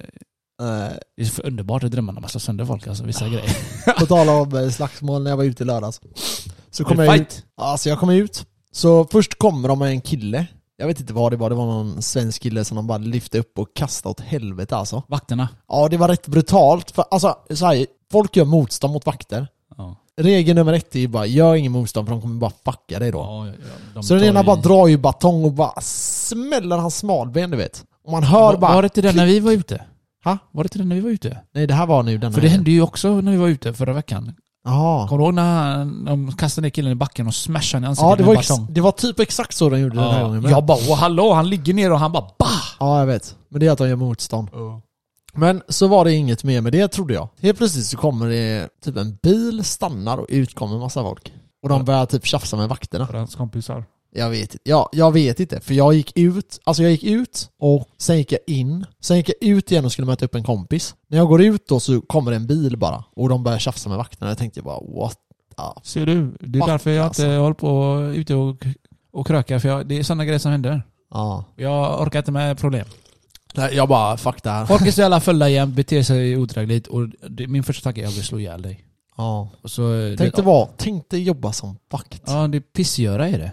Speaker 1: Nej.
Speaker 2: det är så för underbart att drömma när man slår sönder folk alltså, vissa grejer.
Speaker 1: På tal om eh, slagsmål när jag var ute i lördags. Så kom jag ut.
Speaker 2: Fight.
Speaker 1: Alltså jag kom ut. Så först kommer de med en kille. Jag vet inte vad det var. Det var någon svensk kille som de bara lyfte upp och kastade åt helvete alltså.
Speaker 2: Vakterna.
Speaker 1: Ja det var rätt brutalt. För alltså så här, folk gör motstånd mot vakter.
Speaker 2: Ja.
Speaker 1: Regel nummer ett är ju bara, gör ingen motstånd för de kommer bara fucka dig då.
Speaker 2: Ja, ja, de
Speaker 1: så den
Speaker 2: tar
Speaker 1: ena
Speaker 2: i-
Speaker 1: bara drar ju batong och bara smäller hans smalben du vet. Och man hör
Speaker 2: Var,
Speaker 1: bara...
Speaker 2: var det till den när vi var ute?
Speaker 1: Ha?
Speaker 2: Var det till den när vi var ute?
Speaker 1: Nej det här var nu den
Speaker 2: För det hände ju också när vi var ute förra veckan.
Speaker 1: Jaha.
Speaker 2: Kommer du ihåg när de kastade ner killen i backen och smashade honom i ansiktet
Speaker 1: Ja, det
Speaker 2: med
Speaker 1: var,
Speaker 2: en
Speaker 1: ex-
Speaker 2: batong?
Speaker 1: det var typ exakt så de gjorde den här gången
Speaker 2: Ja,
Speaker 1: med.
Speaker 2: jag bara åh hallå, han ligger ner och han bara bah!
Speaker 1: ja, jag vet. Men det är att de gör motstånd. Men så var det inget mer med det trodde jag. Helt plötsligt så kommer det typ en bil, stannar och utkommer massa folk. Och de började typ tjafsa med vakterna.
Speaker 3: för hans kompisar.
Speaker 1: Jag vet, inte. ja, jag vet inte, för jag gick ut, alltså jag gick ut och sen gick jag in. Sen gick jag ut igen och skulle möta upp en kompis. När jag går ut då så kommer det en bil bara och de börjar tjafsa med vakterna. Jag tänkte bara what the
Speaker 3: Ser du? Det är
Speaker 1: Fuck,
Speaker 3: därför jag inte
Speaker 1: alltså.
Speaker 3: håller på ute och, och krökar. För jag, det är sådana grejer som händer.
Speaker 1: Ja.
Speaker 3: Jag orkar inte med problem.
Speaker 1: Nej, Jag bara fuck det här.
Speaker 2: Folk är så jävla fulla jämt, beter sig odrägligt och det, min första tanke är att jag vill slå ihjäl dig.
Speaker 1: Ja.
Speaker 2: Och så, eh,
Speaker 1: Tänk
Speaker 2: det,
Speaker 1: dig vara, tänk dig jobba som vakt. Ja.
Speaker 2: Ja, det är pissgöra är det.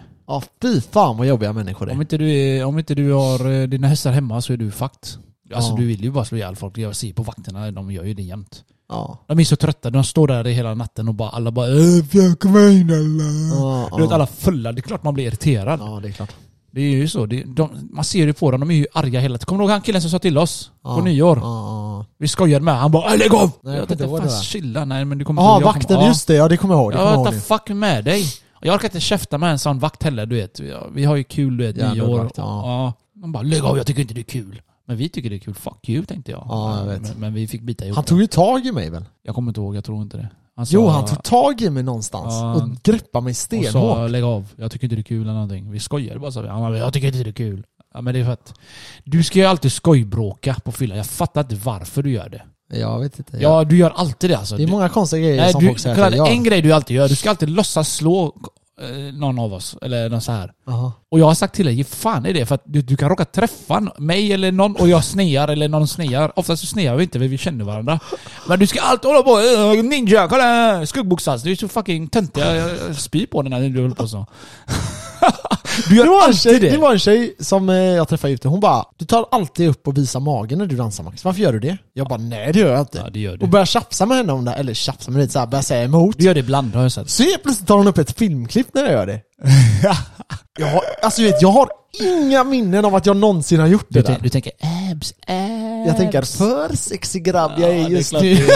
Speaker 1: fy fan vad jobbiga människor det
Speaker 2: Om
Speaker 1: är.
Speaker 2: inte, du är, om inte du har eh, dina hästar hemma så är du fucked. Alltså
Speaker 1: Ja.
Speaker 2: du vill ju bara slå ihjäl folk. Jag ser på vakterna, de gör ju det jämt.
Speaker 1: Ja.
Speaker 2: De är så trötta, de står där hela natten och bara alla bara "Äh, fan, kom in alla.
Speaker 1: Ja,
Speaker 2: Mm. Du vet
Speaker 1: ja.
Speaker 2: alla fulla, det är klart man blir irriterad.
Speaker 1: ja, det är klart.
Speaker 2: Det är ju så. Det, de, man ser ju på dem, de är ju arga hela tiden. Kommer du ihåg han killen som sa till oss?
Speaker 1: Ja.
Speaker 2: På nyår.
Speaker 1: Ja, ja.
Speaker 2: Vi skojade med Han bara "Äh, lägg av!
Speaker 1: Nej, jag
Speaker 2: jag
Speaker 1: kommer inte
Speaker 2: tänkte
Speaker 1: ihåg det där.
Speaker 2: fan chilla, nej men du kommer
Speaker 1: Ja,
Speaker 2: jag kommer-
Speaker 1: vakten,
Speaker 2: ja.
Speaker 1: just det. Ja, det kommer jag ihåg. Det kommer
Speaker 2: Ja,
Speaker 1: jag
Speaker 2: what
Speaker 1: ihåg
Speaker 2: the
Speaker 1: nu.
Speaker 2: fuck med dig? Jag orkar inte käfta med en sån vakt heller, du vet. Ja, Vi har ju kul, du vet,
Speaker 1: Jävla
Speaker 2: nyår.
Speaker 1: vakt, ja.
Speaker 2: De bara, lägg av, jag tycker inte det är kul. Men vi tycker det är kul, fuck you, tänkte jag.
Speaker 1: Ja, jag vet.
Speaker 2: Men, men vi fick bita ihop.
Speaker 1: Han tog ju tag i mig väl?
Speaker 2: Jag kommer inte ihåg, jag tror inte det. Han sa-
Speaker 1: Jo, han tog tag i mig någonstans
Speaker 2: Ja.
Speaker 1: och greppade mig
Speaker 2: Och sa,
Speaker 1: stenhårt.
Speaker 2: lägg av, jag tycker inte det är kul eller någonting. Vi skojade bara, sa vi. Han bara, jag tycker inte det är kul. Ja, men det är för att du ska ju alltid skojbråka på fyllan. Jag fattar inte varför du gör det.
Speaker 1: Jag vet inte.
Speaker 2: Ja, du gör alltid det alltså.
Speaker 1: det är
Speaker 2: Du-
Speaker 1: många konstiga grejer
Speaker 2: Nej,
Speaker 1: som
Speaker 2: du,
Speaker 1: folk säger
Speaker 2: kolla,
Speaker 1: att jag gör.
Speaker 2: En grej du alltid gör, du ska alltid låtsas slå eh, någon av oss. Eller någon så här.
Speaker 1: Jaha.
Speaker 2: Och jag har sagt till dig, ge fan i det för att du, du kan råka träffa n- mig eller någon och jag snear eller någon snear. Oftast så snear vi inte för vi känner varandra. Men du ska alltid hålla på eh, ninja, kolla här, skuggboxas. Du är så fucking töntig. Jag, jag, jag spyr på dig när du håller på så.
Speaker 1: Det
Speaker 2: du gör
Speaker 1: var, en tjej,
Speaker 2: alltid
Speaker 1: det
Speaker 2: det.
Speaker 1: var en tjej som eh, jag träffade ute, hon bara Du tar alltid upp och visar magen när du dansar Max, varför gör du det? Jag bara nej det gör jag inte.
Speaker 2: Ja, det gör
Speaker 1: och
Speaker 2: du.
Speaker 1: börjar tjafsa med henne om det, här, eller tjafsa men lite såhär, börjar säga emot.
Speaker 2: Du gör det ibland har jag sett.
Speaker 1: Så helt plötsligt tar hon upp ett filmklipp när jag gör det. jag har, alltså du vet, jag har inga minnen av att jag någonsin har gjort det
Speaker 2: Du, tän-
Speaker 1: där.
Speaker 2: du tänker abs, abs.
Speaker 1: Jag tänker, för sexig grabb jag är just
Speaker 2: ja, det är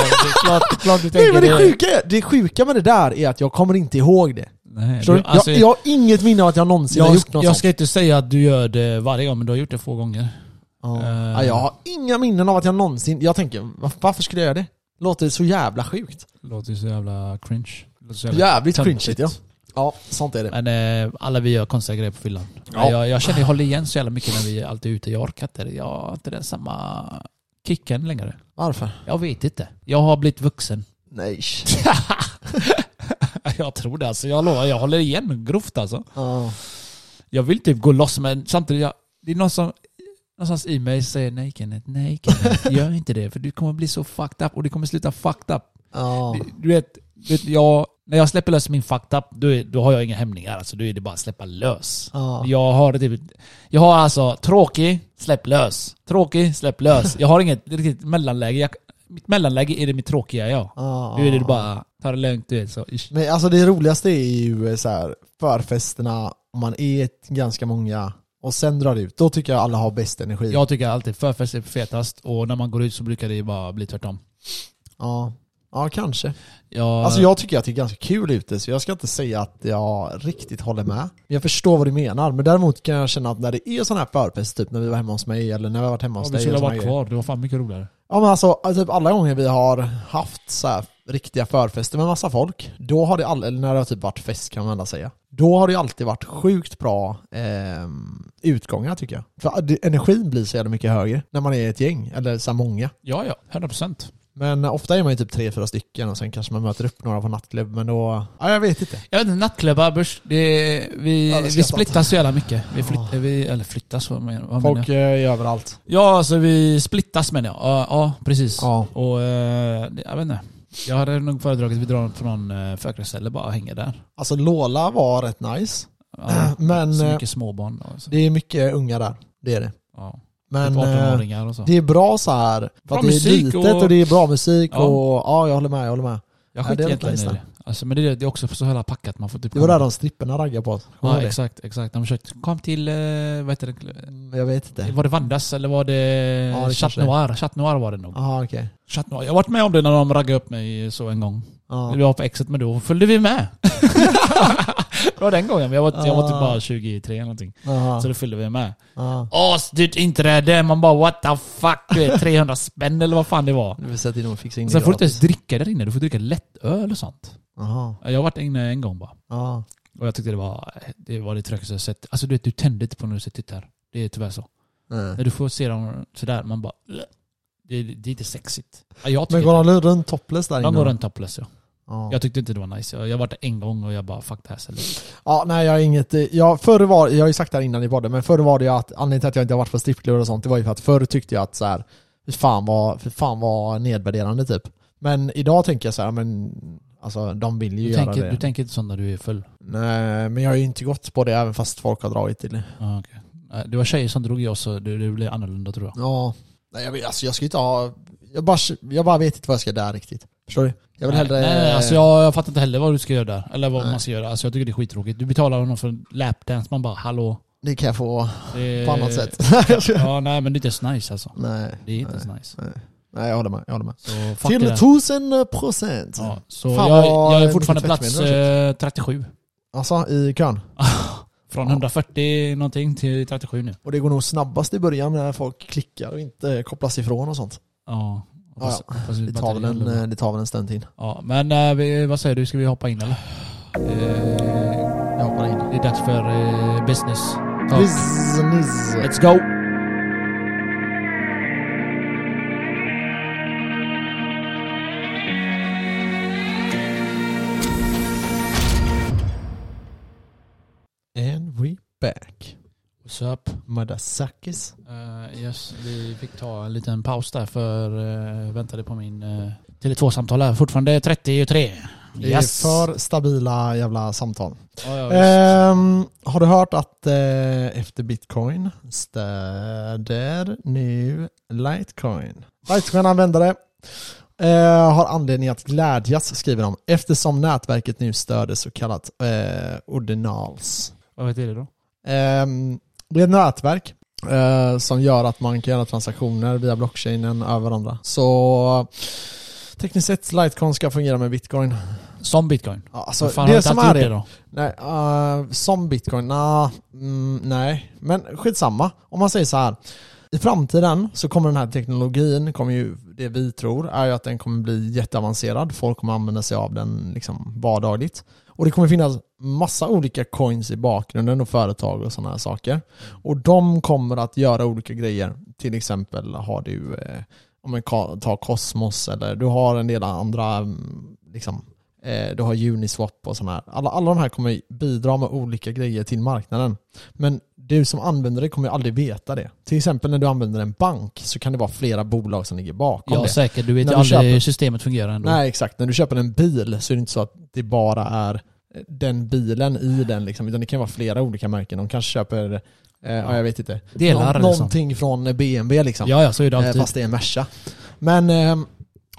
Speaker 2: klart,
Speaker 1: nu.
Speaker 2: du gör. Det
Speaker 1: Nej
Speaker 2: är klart, det är klart du tänker
Speaker 1: men det sjuka, är- det sjuka med det där är att jag kommer inte ihåg det.
Speaker 2: Nej,
Speaker 1: Förstår
Speaker 2: du,
Speaker 1: du?
Speaker 2: alltså,
Speaker 1: jag, jag har inget minne av att jag någonsin har
Speaker 2: jag,
Speaker 1: gjort något
Speaker 2: jag
Speaker 1: sånt.
Speaker 2: ska inte säga att du gör det varje gång, men du har gjort det få gånger.
Speaker 1: Ja.
Speaker 2: Eh.
Speaker 1: Ja, jag har inga minnen av att jag någonsin... Jag tänker, "Va- varför skulle jag göra det? Låter så jävla sjukt.
Speaker 2: Låter så jävla cringe. Låter så
Speaker 1: Jävligt
Speaker 2: töntigt.
Speaker 1: cringe ja. Ja, sånt är det.
Speaker 2: Men eh, alla vi gör konstiga grejer på fyllan.
Speaker 1: Ja.
Speaker 2: Jag, jag känner jag håller igen så jävla mycket när vi alltid är ute. Jag orkar inte. det. Jag har inte den samma kicken längre.
Speaker 1: Varför?
Speaker 2: Jag vet inte. Jag har blivit vuxen.
Speaker 1: Nej.
Speaker 2: jag tror det alltså. Jag lovar, jag håller igen grovt alltså.
Speaker 1: Ja.
Speaker 2: Jag vill typ gå loss men samtidigt, jag, det är någon som någonstans i mig säger nej Kenneth, nej Kenneth, gör inte det för du kommer bli så fucked up och det kommer sluta fucked up.
Speaker 1: Ja.
Speaker 2: Du- Du vet, du vet jag, när jag släpper lös min fucked up, då, är, då har jag inga hämningar. Alltså, då är det bara att släppa lös.
Speaker 1: Ja.
Speaker 2: Jag har det typ, jag har alltså tråkig, släpp lös. Tråkig, släpp lös. Jag har inget riktigt mellanläge. Jag, mitt mellanläge är det mitt tråkiga jag.
Speaker 1: Ja.
Speaker 2: Nu är det bara, ta det lugnt du vet så. ish.
Speaker 1: Men alltså det roligaste är ju eh, så här, förfesterna, om man är ett- ganska många och sen drar det ut. Då tycker jag alla har bäst energi.
Speaker 2: Jag tycker alltid förfest är fetast och när man går ut så brukar det ju bara bli tvärtom.
Speaker 1: Ja. Ja, kanske.
Speaker 2: Jag,
Speaker 1: Alltså jag tycker att det är ganska kul ute, så jag ska inte säga att jag riktigt håller med. Jag förstår vad du menar, men däremot kan jag känna att när det är sån här förfest, typ när vi var hemma hos mig eller när vi har varit hemma hos
Speaker 2: om vi
Speaker 1: dig.
Speaker 2: skulle
Speaker 1: eller
Speaker 2: ha
Speaker 1: såna
Speaker 2: varit
Speaker 1: grejer.
Speaker 2: kvar, det var fan mycket roligare.
Speaker 1: Ja men alltså, alltså, typ alla gånger vi har haft så här riktiga förfester med massa folk, då har det all, eller när det har typ varit fest kan man ändå säga, då har det alltid varit sjukt bra ehm, utgångar tycker jag. För det- energin blir så jävla mycket högre när man är ett gäng, eller så här många.
Speaker 2: Ja, ja. 100%.
Speaker 1: Men ofta är man ju typ tre, fyra stycken och sen kanske man möter upp några på nattklubb, men då, ja jag vet inte.
Speaker 2: Jag vet inte, nattklubbar, börs. Det, vi,
Speaker 1: Ja, det ska
Speaker 2: vi
Speaker 1: jag
Speaker 2: splittar så jävla mycket. Vi flyttar, vi, eller flyttas, vad menar, vad menar
Speaker 1: Folk eh,
Speaker 2: jag?
Speaker 1: är överallt.
Speaker 2: Ja, alltså vi splittas menar jag. Ja, ja precis.
Speaker 1: Ja.
Speaker 2: Och eh, det- jag vet inte. Jag hade nog föredragit att vi drar från eh, förkretsställe bara och hänger där.
Speaker 1: Alltså Lola var rätt nice,
Speaker 2: Ja,
Speaker 1: men
Speaker 2: så
Speaker 1: eh,
Speaker 2: mycket småbarn. Och så.
Speaker 1: det är mycket unga där, det är det.
Speaker 2: Ja.
Speaker 1: Men,
Speaker 2: typ
Speaker 1: eh,
Speaker 2: 18-åringar och så.
Speaker 1: Det är bra så här. För
Speaker 2: Bra
Speaker 1: att det är
Speaker 2: musik
Speaker 1: litet och...
Speaker 2: och-
Speaker 1: det är bra musik
Speaker 2: Ja.
Speaker 1: och ja, jag håller med, jag håller med.
Speaker 2: jag
Speaker 1: ja, det
Speaker 2: skiter
Speaker 1: är
Speaker 2: egentligen i
Speaker 1: nice
Speaker 2: det. Alltså, men det, är- det är också så jävla packat. Man får typ
Speaker 1: Det var där
Speaker 2: komma-
Speaker 1: de stripperna raggade på oss. Kommer
Speaker 2: Ja,
Speaker 1: du ihåg
Speaker 2: exakt, exakt. De försökte, kom till, eh, vad heter det?
Speaker 1: det? Jag vet inte.
Speaker 2: Var det Vandas eller var det,
Speaker 1: Mm, Ja, det
Speaker 2: Chat
Speaker 1: kanske det.
Speaker 2: Noir? Chat Noir var det nog.
Speaker 1: Jaha okej.
Speaker 2: Chat Noir. Jag har varit med om det när de raggade upp mig så en gång.
Speaker 1: Ja.
Speaker 2: Vi var på exet men då följde vi med. det var den gången, jag var, jag var typ
Speaker 1: Ah.
Speaker 2: bara 23 eller någonting.
Speaker 1: Jaha.
Speaker 2: Så då följde vi med.
Speaker 1: Ja.
Speaker 2: Asdyrt inträde, man bara what the fuck, du vet, 300 spänn eller vad fan det var.
Speaker 1: Nu vill sätta in och fixa in
Speaker 2: Sen får du inte
Speaker 1: gratis.
Speaker 2: ens dricka där inne, du får dricka lättöl och sånt.
Speaker 1: Aha.
Speaker 2: Jag har varit inne en gång bara.
Speaker 1: Ja.
Speaker 2: Och jag tyckte det var det, var det tråkigaste jag sett. Alltså du vet, du tänder inte på när du sitter där. Det är tyvärr så. När
Speaker 1: Nej.
Speaker 2: du får se dem sådär, man bara... "Ugh." Det, det är inte sexigt. Ja, Jag
Speaker 1: Men
Speaker 2: tycker
Speaker 1: går
Speaker 2: inte.
Speaker 1: de runt topless där
Speaker 2: De
Speaker 1: inne?
Speaker 2: går runt topless ja.
Speaker 1: Ja.
Speaker 2: Jag tyckte inte det var nice. Jag, jag har varit där en gång och jag bara fuck det här stället.
Speaker 1: Ja, nej jag har inget, eh, jag, förr var, jag har ju sagt det här innan i podden, men förr var det ju att anledningen till att jag inte har varit på strippklubbar och sånt, det var ju för att förr tyckte jag att så här, fy fan vad, fy fan vad nedvärderande typ. Men idag tänker jag så här, men alltså de vill ju
Speaker 2: Du
Speaker 1: göra
Speaker 2: tänker,
Speaker 1: det.
Speaker 2: du tänker inte så när du är full?
Speaker 1: nej, men jag har ju inte gått på det även fast folk har dragit till det.
Speaker 2: Ja, okej. Nej, Det var tjejer som drog i oss så det, det blev annorlunda tror jag.
Speaker 1: Ja, nej jag, vet- alltså jag ska ju inte ha, jag bara, jag bara vet inte vad jag ska där riktigt. Förstår du? Jag vill hellre...
Speaker 2: Nej, nej, nej, alltså jag, jag fattar inte heller vad du ska göra där. Eller vad
Speaker 1: Nej.
Speaker 2: man ska göra. Alltså jag tycker det är skittråkigt. Du betalar honom för en lapdance, man bara hallå.
Speaker 1: Det kan jag få
Speaker 2: Eh, Det,
Speaker 1: på annat sätt.
Speaker 2: Ja, nej men det är inte så nice alltså.
Speaker 1: nej,
Speaker 2: Det är inte så nice.
Speaker 1: nej, jag håller med. Jag håller med.
Speaker 2: Så fuck det.
Speaker 1: Till
Speaker 2: där.
Speaker 1: tusen procent!
Speaker 2: Ja, så
Speaker 1: Fan,
Speaker 2: jag,
Speaker 1: vad
Speaker 2: jag är
Speaker 1: mycket
Speaker 2: fortfarande plats
Speaker 1: tvättmedel
Speaker 2: eh, 37.
Speaker 1: Alltså i kön.
Speaker 2: Från
Speaker 1: Ja.
Speaker 2: 140 någonting till 37 nu.
Speaker 1: Och det går nog snabbast i början när folk klickar och inte kopplas ifrån och sånt.
Speaker 2: Ja.
Speaker 1: Ja, ja. Det tar väl en, eh, det tar väl en stund till.
Speaker 2: Ja, men eh, vi, vad säger du? Ska vi hoppa in eller? Eh,
Speaker 1: Jag hoppar in.
Speaker 2: det är dags för eh, business. Talk.
Speaker 1: Business.
Speaker 2: Let's go!
Speaker 1: And we back.
Speaker 2: What's up?
Speaker 1: Madasakis.
Speaker 2: Eh, yes, vi fick ta en liten paus där för eh, väntade på min uh, Tele2-samtal här. Fortfarande 33.
Speaker 1: Det är för stabila jävla samtal.
Speaker 2: Ja, ja, visst.
Speaker 1: Ehm, har du hört att eh, efter bitcoin stöder nu litecoin? Litecoin-användare eh, har anledning att glädjas skriver de eftersom nätverket nu stöder så kallat eh, ordinals.
Speaker 2: Vad heter det då?
Speaker 1: Ehm, det är ett nätverk eh, som gör att man kan göra transaktioner via blockchainen över varandra. Så tekniskt sett litecoin ska fungera med bitcoin.
Speaker 2: Som bitcoin.
Speaker 1: Ja, Alltså,
Speaker 2: Vad fan,
Speaker 1: det
Speaker 2: har du inte
Speaker 1: som
Speaker 2: alltid
Speaker 1: är
Speaker 2: gjort
Speaker 1: det,
Speaker 2: det då?
Speaker 1: Nej, eh, som bitcoin? Nah, mm, nej, men skitsamma. Om man säger så här. I framtiden så kommer den här teknologin, kommer ju, det vi tror, är ju att den kommer bli jätteavancerad. Folk kommer använda sig av den liksom vardagligt. Och det kommer finnas massa olika coins i bakgrunden och företag och sådana här saker. Och de kommer att göra olika grejer. Till exempel har du, eh, om man ka- tar Cosmos eller du har en del andra mm, liksom, Eh, Du har Uniswap och sådana här. Alla, alla de här kommer bidra med olika grejer till marknaden. Men du som användare kommer ju aldrig veta det. Till exempel när du använder en bank så kan det vara flera bolag som ligger bakom
Speaker 2: Ja
Speaker 1: det.
Speaker 2: säkert, du vet
Speaker 1: När
Speaker 2: ju
Speaker 1: du
Speaker 2: aldrig
Speaker 1: köper-
Speaker 2: hur systemet fungerar ändå.
Speaker 1: Nej exakt, när du köper en bil så är det inte så att det bara är eh, den bilen i den liksom, utan det kan vara flera olika märken. De kanske köper, eh, ja jag vet inte,
Speaker 2: Delar
Speaker 1: Nå-
Speaker 2: liksom.
Speaker 1: någonting från BMW liksom.
Speaker 2: Ja, ja, så är det
Speaker 1: Eh,
Speaker 2: alltid.
Speaker 1: Fast det är en Merca. Men eh,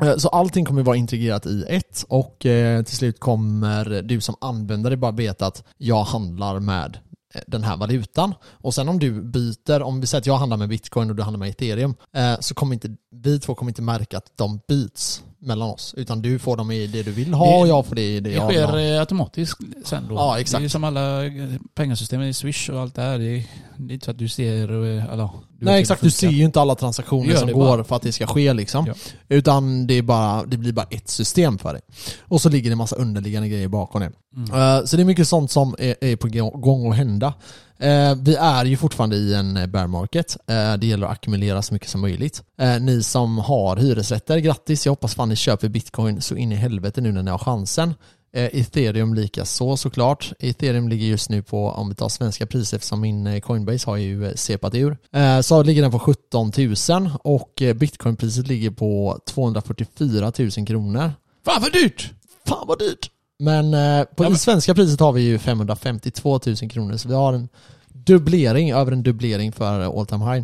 Speaker 1: eh, så allting kommer vara integrerat i ett och eh, till slut kommer du som användare bara veta att jag handlar med eh, den här valutan. Och sen om du byter, om vi säger att jag handlar med bitcoin och du handlar med ethereum, eh, så kommer inte vi två kommer inte märka att de byts mellan oss. Utan du får dem i det du vill ha
Speaker 2: Det-
Speaker 1: och jag får det i det
Speaker 2: det
Speaker 1: jag vill
Speaker 2: sker
Speaker 1: ha.
Speaker 2: eh, automatiskt sen då.
Speaker 1: Ja, exakt.
Speaker 2: Det är ju som alla eh, pengasystem, i Swish och allt det här. Det är det är inte så att du ser... eh, Eller, du vet hur
Speaker 1: Nej
Speaker 2: det
Speaker 1: exakt, du ser
Speaker 2: funkar.
Speaker 1: ju inte alla transaktioner
Speaker 2: Gör
Speaker 1: som
Speaker 2: det
Speaker 1: går
Speaker 2: bara.
Speaker 1: för att det ska ske liksom.
Speaker 2: Ja.
Speaker 1: Utan det, är bara, det blir bara ett system för dig. Och så ligger det en massa underliggande grejer bakom det.
Speaker 2: Mm.
Speaker 1: Eh, så det är mycket sånt som är, är på gång- gång att hända. Eh, vi är ju fortfarande i en eh, bear market. Eh, det gäller att ackumulera så mycket som möjligt. Eh, ni som har hyresrätter, grattis. Jag hoppas fan ni köper bitcoin så in i helvete nu när ni har chansen. Eh, Ethereum lika så såklart. Ethereum ligger just nu på, om vi tar svenska priser eftersom min eh, Coinbase har ju eh, sepat ur, eh, så ligger den på 17 000 och eh, bitcoinpriset ligger på 244 000 kronor.
Speaker 2: Fan vad dyrt!
Speaker 1: Fan vad dyrt! Men eh, på
Speaker 2: Ja,
Speaker 1: i
Speaker 2: men-
Speaker 1: svenska priset har vi ju 552 000 kronor så vi har en dubblering, över en dubblering för eh, all time high.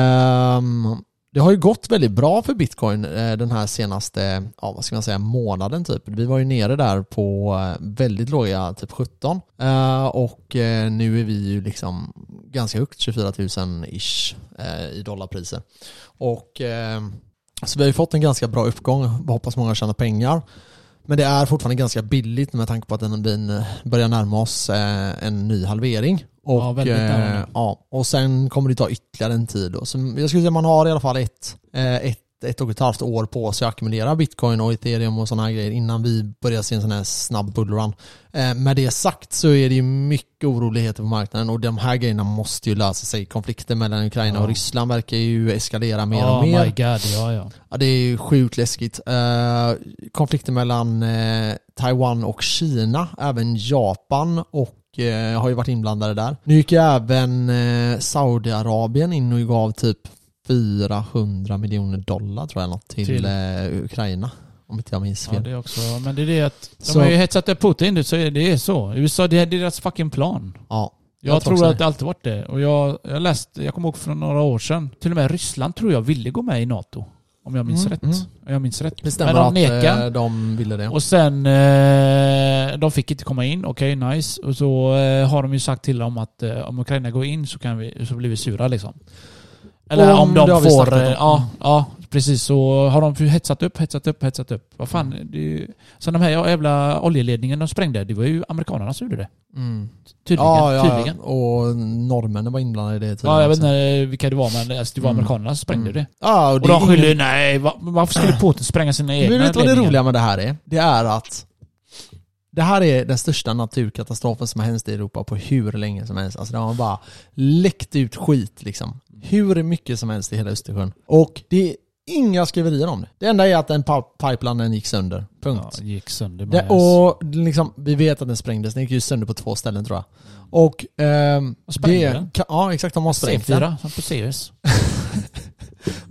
Speaker 1: Ehm, det har ju gått väldigt bra för bitcoin eh, den här senaste, ja vad ska man säga, månaden typ. Vi var ju nere där på eh, väldigt låga, typ 17. Eh, och eh, nu är vi ju liksom ganska högt, 24 000-ish eh, i dollarpriser. Och eh, så vi har ju fått en ganska bra uppgång, Jag hoppas många tjänar pengar. Men det är fortfarande ganska billigt med tanke på att energin eh, börjar närma oss eh, en ny halvering. Och,
Speaker 2: Ja, väldigt nära.
Speaker 1: ja, och sen kommer det ta ytterligare en tid. Då. Så jag skulle säga man har i alla fall ett, eh, ett ett och ett halvt år på sig att ackumulera bitcoin och ethereum och sådana här grejer innan vi börjar se en sån här snabb bullrun. Eh, med det sagt så är det ju mycket oroligheter på marknaden och de här grejerna måste ju lösa sig. Konflikten mellan Ukraina och
Speaker 2: Ja.
Speaker 1: Ryssland verkar ju eskalera mer
Speaker 2: oh
Speaker 1: och mer.
Speaker 2: my god, ja ja.
Speaker 1: Ja, det är ju sjukt läskigt. Eh, konflikten mellan eh, Taiwan och Kina, även Japan och eh, har ju varit inblandade där. Nu gick ju även eh, Saudiarabien in och gav typ 400 miljoner dollar tror jag något, till,
Speaker 2: Till?
Speaker 1: Eh, Ukraina. Om inte jag minns
Speaker 2: ja
Speaker 1: fel.
Speaker 2: det är också, men det är det att de
Speaker 1: Så-
Speaker 2: har ju hetsat upp Putin nu, så är det är så. USA, det är deras fucking plan.
Speaker 1: Ja.
Speaker 2: Jag,
Speaker 1: Jag tror
Speaker 2: tror
Speaker 1: också
Speaker 2: att det alltid varit det. Och jag, jag läste, jag kommer ihåg för några år sedan, till och med Ryssland tror jag ville gå med i NATO. Om jag minns
Speaker 1: Mm,
Speaker 2: rätt.
Speaker 1: mm.
Speaker 2: Om Jag minns rätt.
Speaker 1: Det stämmer
Speaker 2: Men de
Speaker 1: att
Speaker 2: nekar.
Speaker 1: eh, de ville det.
Speaker 2: Och sen, eh, de fick inte komma in. Okej, nice. Och så eh, har de ju sagt till dem att eh, om Ukraina går in så, kan vi, så blir vi sura liksom. Eller om,
Speaker 1: Om det har
Speaker 2: de
Speaker 1: vi
Speaker 2: får...
Speaker 1: snackat om.
Speaker 2: eh, Ja, ja, precis. Så har de ju hetsat upp, hetsat upp, hetsat upp. Vad fan.
Speaker 1: Mm.
Speaker 2: Det är ju, sen de här jävla oljeledningen de sprängde, det var ju amerikanerna som gjorde det.
Speaker 1: Mm.
Speaker 2: Tydligen.
Speaker 1: Ja, ja,
Speaker 2: tydligen.
Speaker 1: ja, och norrmännen var inblandade i det tydligen
Speaker 2: Ja, jag vet
Speaker 1: också.
Speaker 2: inte vilka det var, men alltså, det var
Speaker 1: Mm.
Speaker 2: amerikanerna som sprängde
Speaker 1: Mm.
Speaker 2: det.
Speaker 1: Ja, och
Speaker 2: Och
Speaker 1: det är
Speaker 2: de
Speaker 1: ingen-
Speaker 2: skyller, nej, va- varför skulle Putin spränga sina egna
Speaker 1: Men vet du vad det
Speaker 2: ledningar?
Speaker 1: roliga med det här är? Det är att det här är den största naturkatastrofen som har hänt i Europa på hur länge som helst. Alltså det har bara läckt ut skit liksom. Hur mycket som helst i hela Östersjön. Och det är inga skriverier om det. Det enda är att den pa- pipelinen gick sönder.
Speaker 2: Ja,
Speaker 1: Punkt.
Speaker 2: det gick sönder.
Speaker 1: det,
Speaker 2: med-
Speaker 1: och liksom, vi vet att den sprängdes. Den gick ju sönder på två ställen tror jag. Och... ehm,
Speaker 2: Och sprängde
Speaker 1: det-
Speaker 2: den?
Speaker 1: ka- Ja, exakt. De har sprängt den.
Speaker 2: C4, som på Sirius.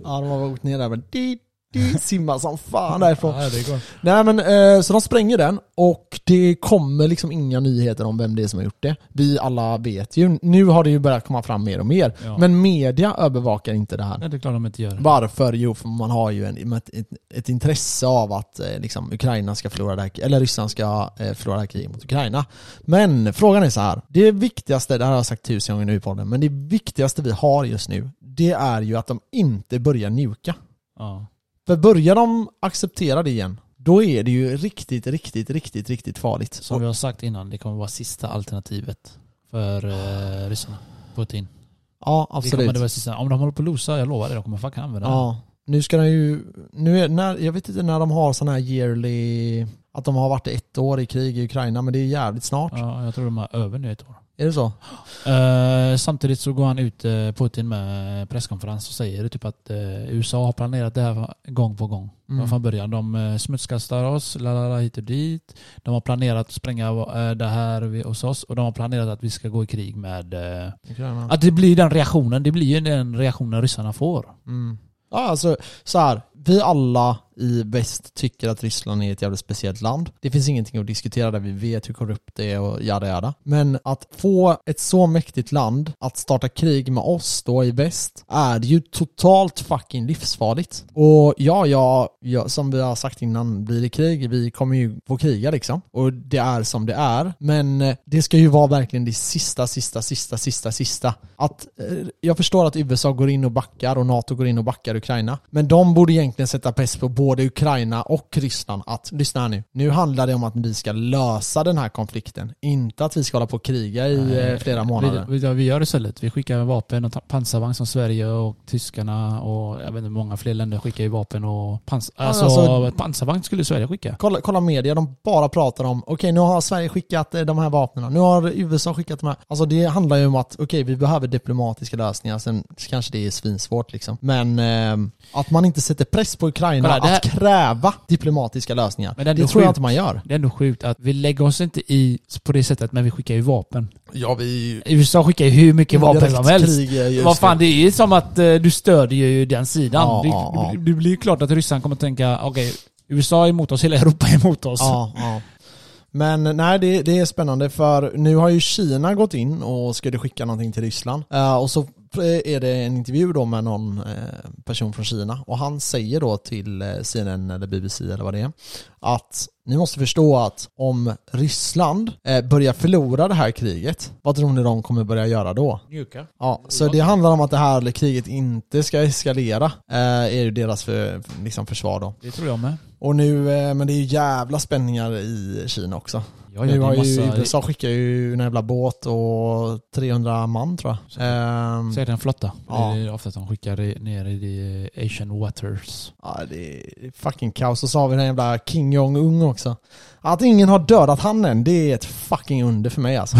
Speaker 1: Ja, de har gått ner där men... Di, di, simma som fan därifrån.
Speaker 2: det går.
Speaker 1: Nej men eh, så de spränger den och det kommer liksom inga nyheter om vem det är som har gjort det. Vi alla vet ju. Nu har det ju börjat komma fram mer och mer.
Speaker 2: Ja.
Speaker 1: Men media övervakar inte det här.
Speaker 2: Nej, det är klart de inte gör.
Speaker 1: Varför? Jo, för man har ju en, ett, ett, ett intresse av att eh, liksom, Ukraina ska förlora det här, eller Ryssland ska eh, förlora det här kriget mot Ukraina. Men frågan är så här. Det viktigaste, det här har jag sagt tusen gånger nu i podden, men det viktigaste vi har just nu, det är ju att de inte börjar nuka.
Speaker 2: Ja.
Speaker 1: För börjar de acceptera det igen, då är det ju riktigt, riktigt, riktigt, riktigt farligt.
Speaker 2: Som vi har sagt innan, det kommer vara sista alternativet för eh, ryssarna. Putin.
Speaker 1: ja,
Speaker 2: Det
Speaker 1: absolut.
Speaker 2: kommer det vara sista. Om de håller på att losa, jag lovar det, de kommer fucking använda det.
Speaker 1: ja. Nu ska de ju, nu är, när, jag vet inte när de har sån här yearly, att de har varit i ett år i krig i Ukraina, men det är jävligt snart.
Speaker 2: Ja, jag tror de är över nu ett år.
Speaker 1: Är det så?
Speaker 2: Eh, samtidigt så går han ut, eh, Putin, med presskonferens och säger det typ att eh, USA har planerat det här gång på gång.
Speaker 1: Mm.
Speaker 2: Från början. De eh, smutskastar oss, lalala, hit och dit. De har planerat att spränga eh, det här vid- hos oss och de har planerat att vi ska gå i krig med... Eh,
Speaker 1: Ukraina.
Speaker 2: att det blir den reaktionen, det blir ju den reaktionen ryssarna får.
Speaker 1: Mm. Ja, alltså så här. Vi alla i väst tycker att Ryssland är ett jävligt speciellt land. Det finns ingenting att diskutera där. Vi vet hur korrupt det är och jada jada. Men att få ett så mäktigt land att starta krig med oss då i väst är ju totalt fucking livsfarligt. Och ja, ja, ja som vi har sagt innan, blir det krig, vi kommer ju få kriga liksom. Och det är som det är. Men eh, det ska ju vara verkligen det sista, sista, sista, sista, sista. Att, eh, jag förstår att USA går in och backar och NATO går in och backar Ukraina. Men de borde egentligen sätta press på både Ukraina och Ryssland att, lyssna här nu, nu handlar det om att vi ska lösa den här konflikten. Inte att vi ska hålla på och kriga i eh, flera månader.
Speaker 2: Vi, vi, vi gör det istället. Vi skickar vapen och ta- pansarvagn som Sverige och tyskarna och jag vet inte, många fler länder skickar ju vapen och pans alltså,
Speaker 1: alltså-
Speaker 2: pansarvagn skulle Sverige skicka.
Speaker 1: Kolla, kolla media, de bara pratar om okej nu har Sverige skickat eh, de här vapnen, nu har USA skickat de här. Alltså det handlar ju om att okej vi behöver diplomatiska lösningar, sen kanske det är svinsvårt liksom. Men ehm, att man inte sätter press på Ukraina
Speaker 2: Kolla, det här-
Speaker 1: att kräva diplomatiska lösningar,
Speaker 2: Men det är
Speaker 1: det,
Speaker 2: ändå
Speaker 1: tror jag
Speaker 2: sjukt.
Speaker 1: inte man gör.
Speaker 2: Det är ändå sjukt att vi lägger oss inte i på det sättet men vi skickar ju vapen.
Speaker 1: Ja vi...
Speaker 2: USA skickar ju hur mycket vapen som helst. Vad fan, det är ju som att eh, du stödjer ju den sidan.
Speaker 1: Ja,
Speaker 2: det,
Speaker 1: ja, ja.
Speaker 2: det- det blir ju klart att ryssarna kommer att tänka, okej, USA är emot oss, hela Europa är emot oss.
Speaker 1: Ja, ja. Men nej, det, det är spännande för nu har ju Kina gått in och skulle skicka någonting till Ryssland. Eh, och så eh, är det en intervju då med någon eh, person från Kina och han säger då till eh, CNN eller BBC eller vad det är att ni måste förstå att om Ryssland eh, börjar förlora det här kriget, vad tror ni de kommer börja göra då?
Speaker 2: Mjuka.
Speaker 1: Ja, så det handlar om att det här kriget inte ska eskalera, eh, är ju deras för, liksom försvar då.
Speaker 2: Det tror jag med.
Speaker 1: Och nu, eh, men det är ju jävla spänningar i Kina också.
Speaker 3: Ja,
Speaker 1: Nu har
Speaker 3: ja, det
Speaker 1: ju
Speaker 3: är massa...
Speaker 1: USA skickar ju en jävla båt och 300 man tror jag. Ehm,
Speaker 2: Säg den flotta.
Speaker 1: Ja.
Speaker 2: Det är ofta de skickar i- ner i the Asian waters.
Speaker 1: ja, det är fucking kaos. Och så har vi den jävla King Jong-Un också. Att ingen har dödat han än, det är ett fucking under för mig alltså.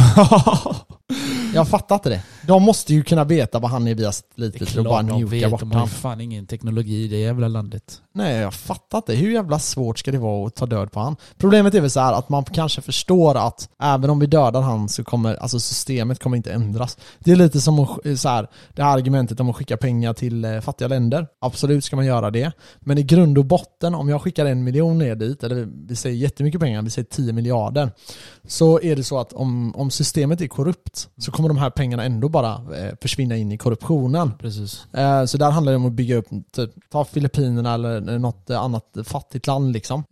Speaker 1: Jag fattar inte det. De måste ju kunna veta vad han är via satelliter och bara njuka bort
Speaker 2: de har ju
Speaker 1: han.
Speaker 2: fan ingen teknologi i det jävla landet.
Speaker 1: Nej, jag fattar inte. Hur jävla svårt ska det vara att ta död på han? Problemet är väl så här att man kanske förstår att även om vi dödar han så kommer, alltså systemet kommer inte ändras. Det är lite som att, sk- så här, det här argumentet om att skicka pengar till eh, fattiga länder. Absolut ska man göra det. Men i grund och botten, om jag skickar en miljon ner dit, eller vi säger jättemycket pengar, vi säger 10 miljarder, så är det så att om, om systemet är korrupt så kommer de här pengarna ändå bara eh, försvinna in i korruptionen.
Speaker 2: Precis.
Speaker 1: Eh, Så där handlar det om att bygga upp, typ, ta Filippinerna eller något eh, annat fattigt land liksom. Eh,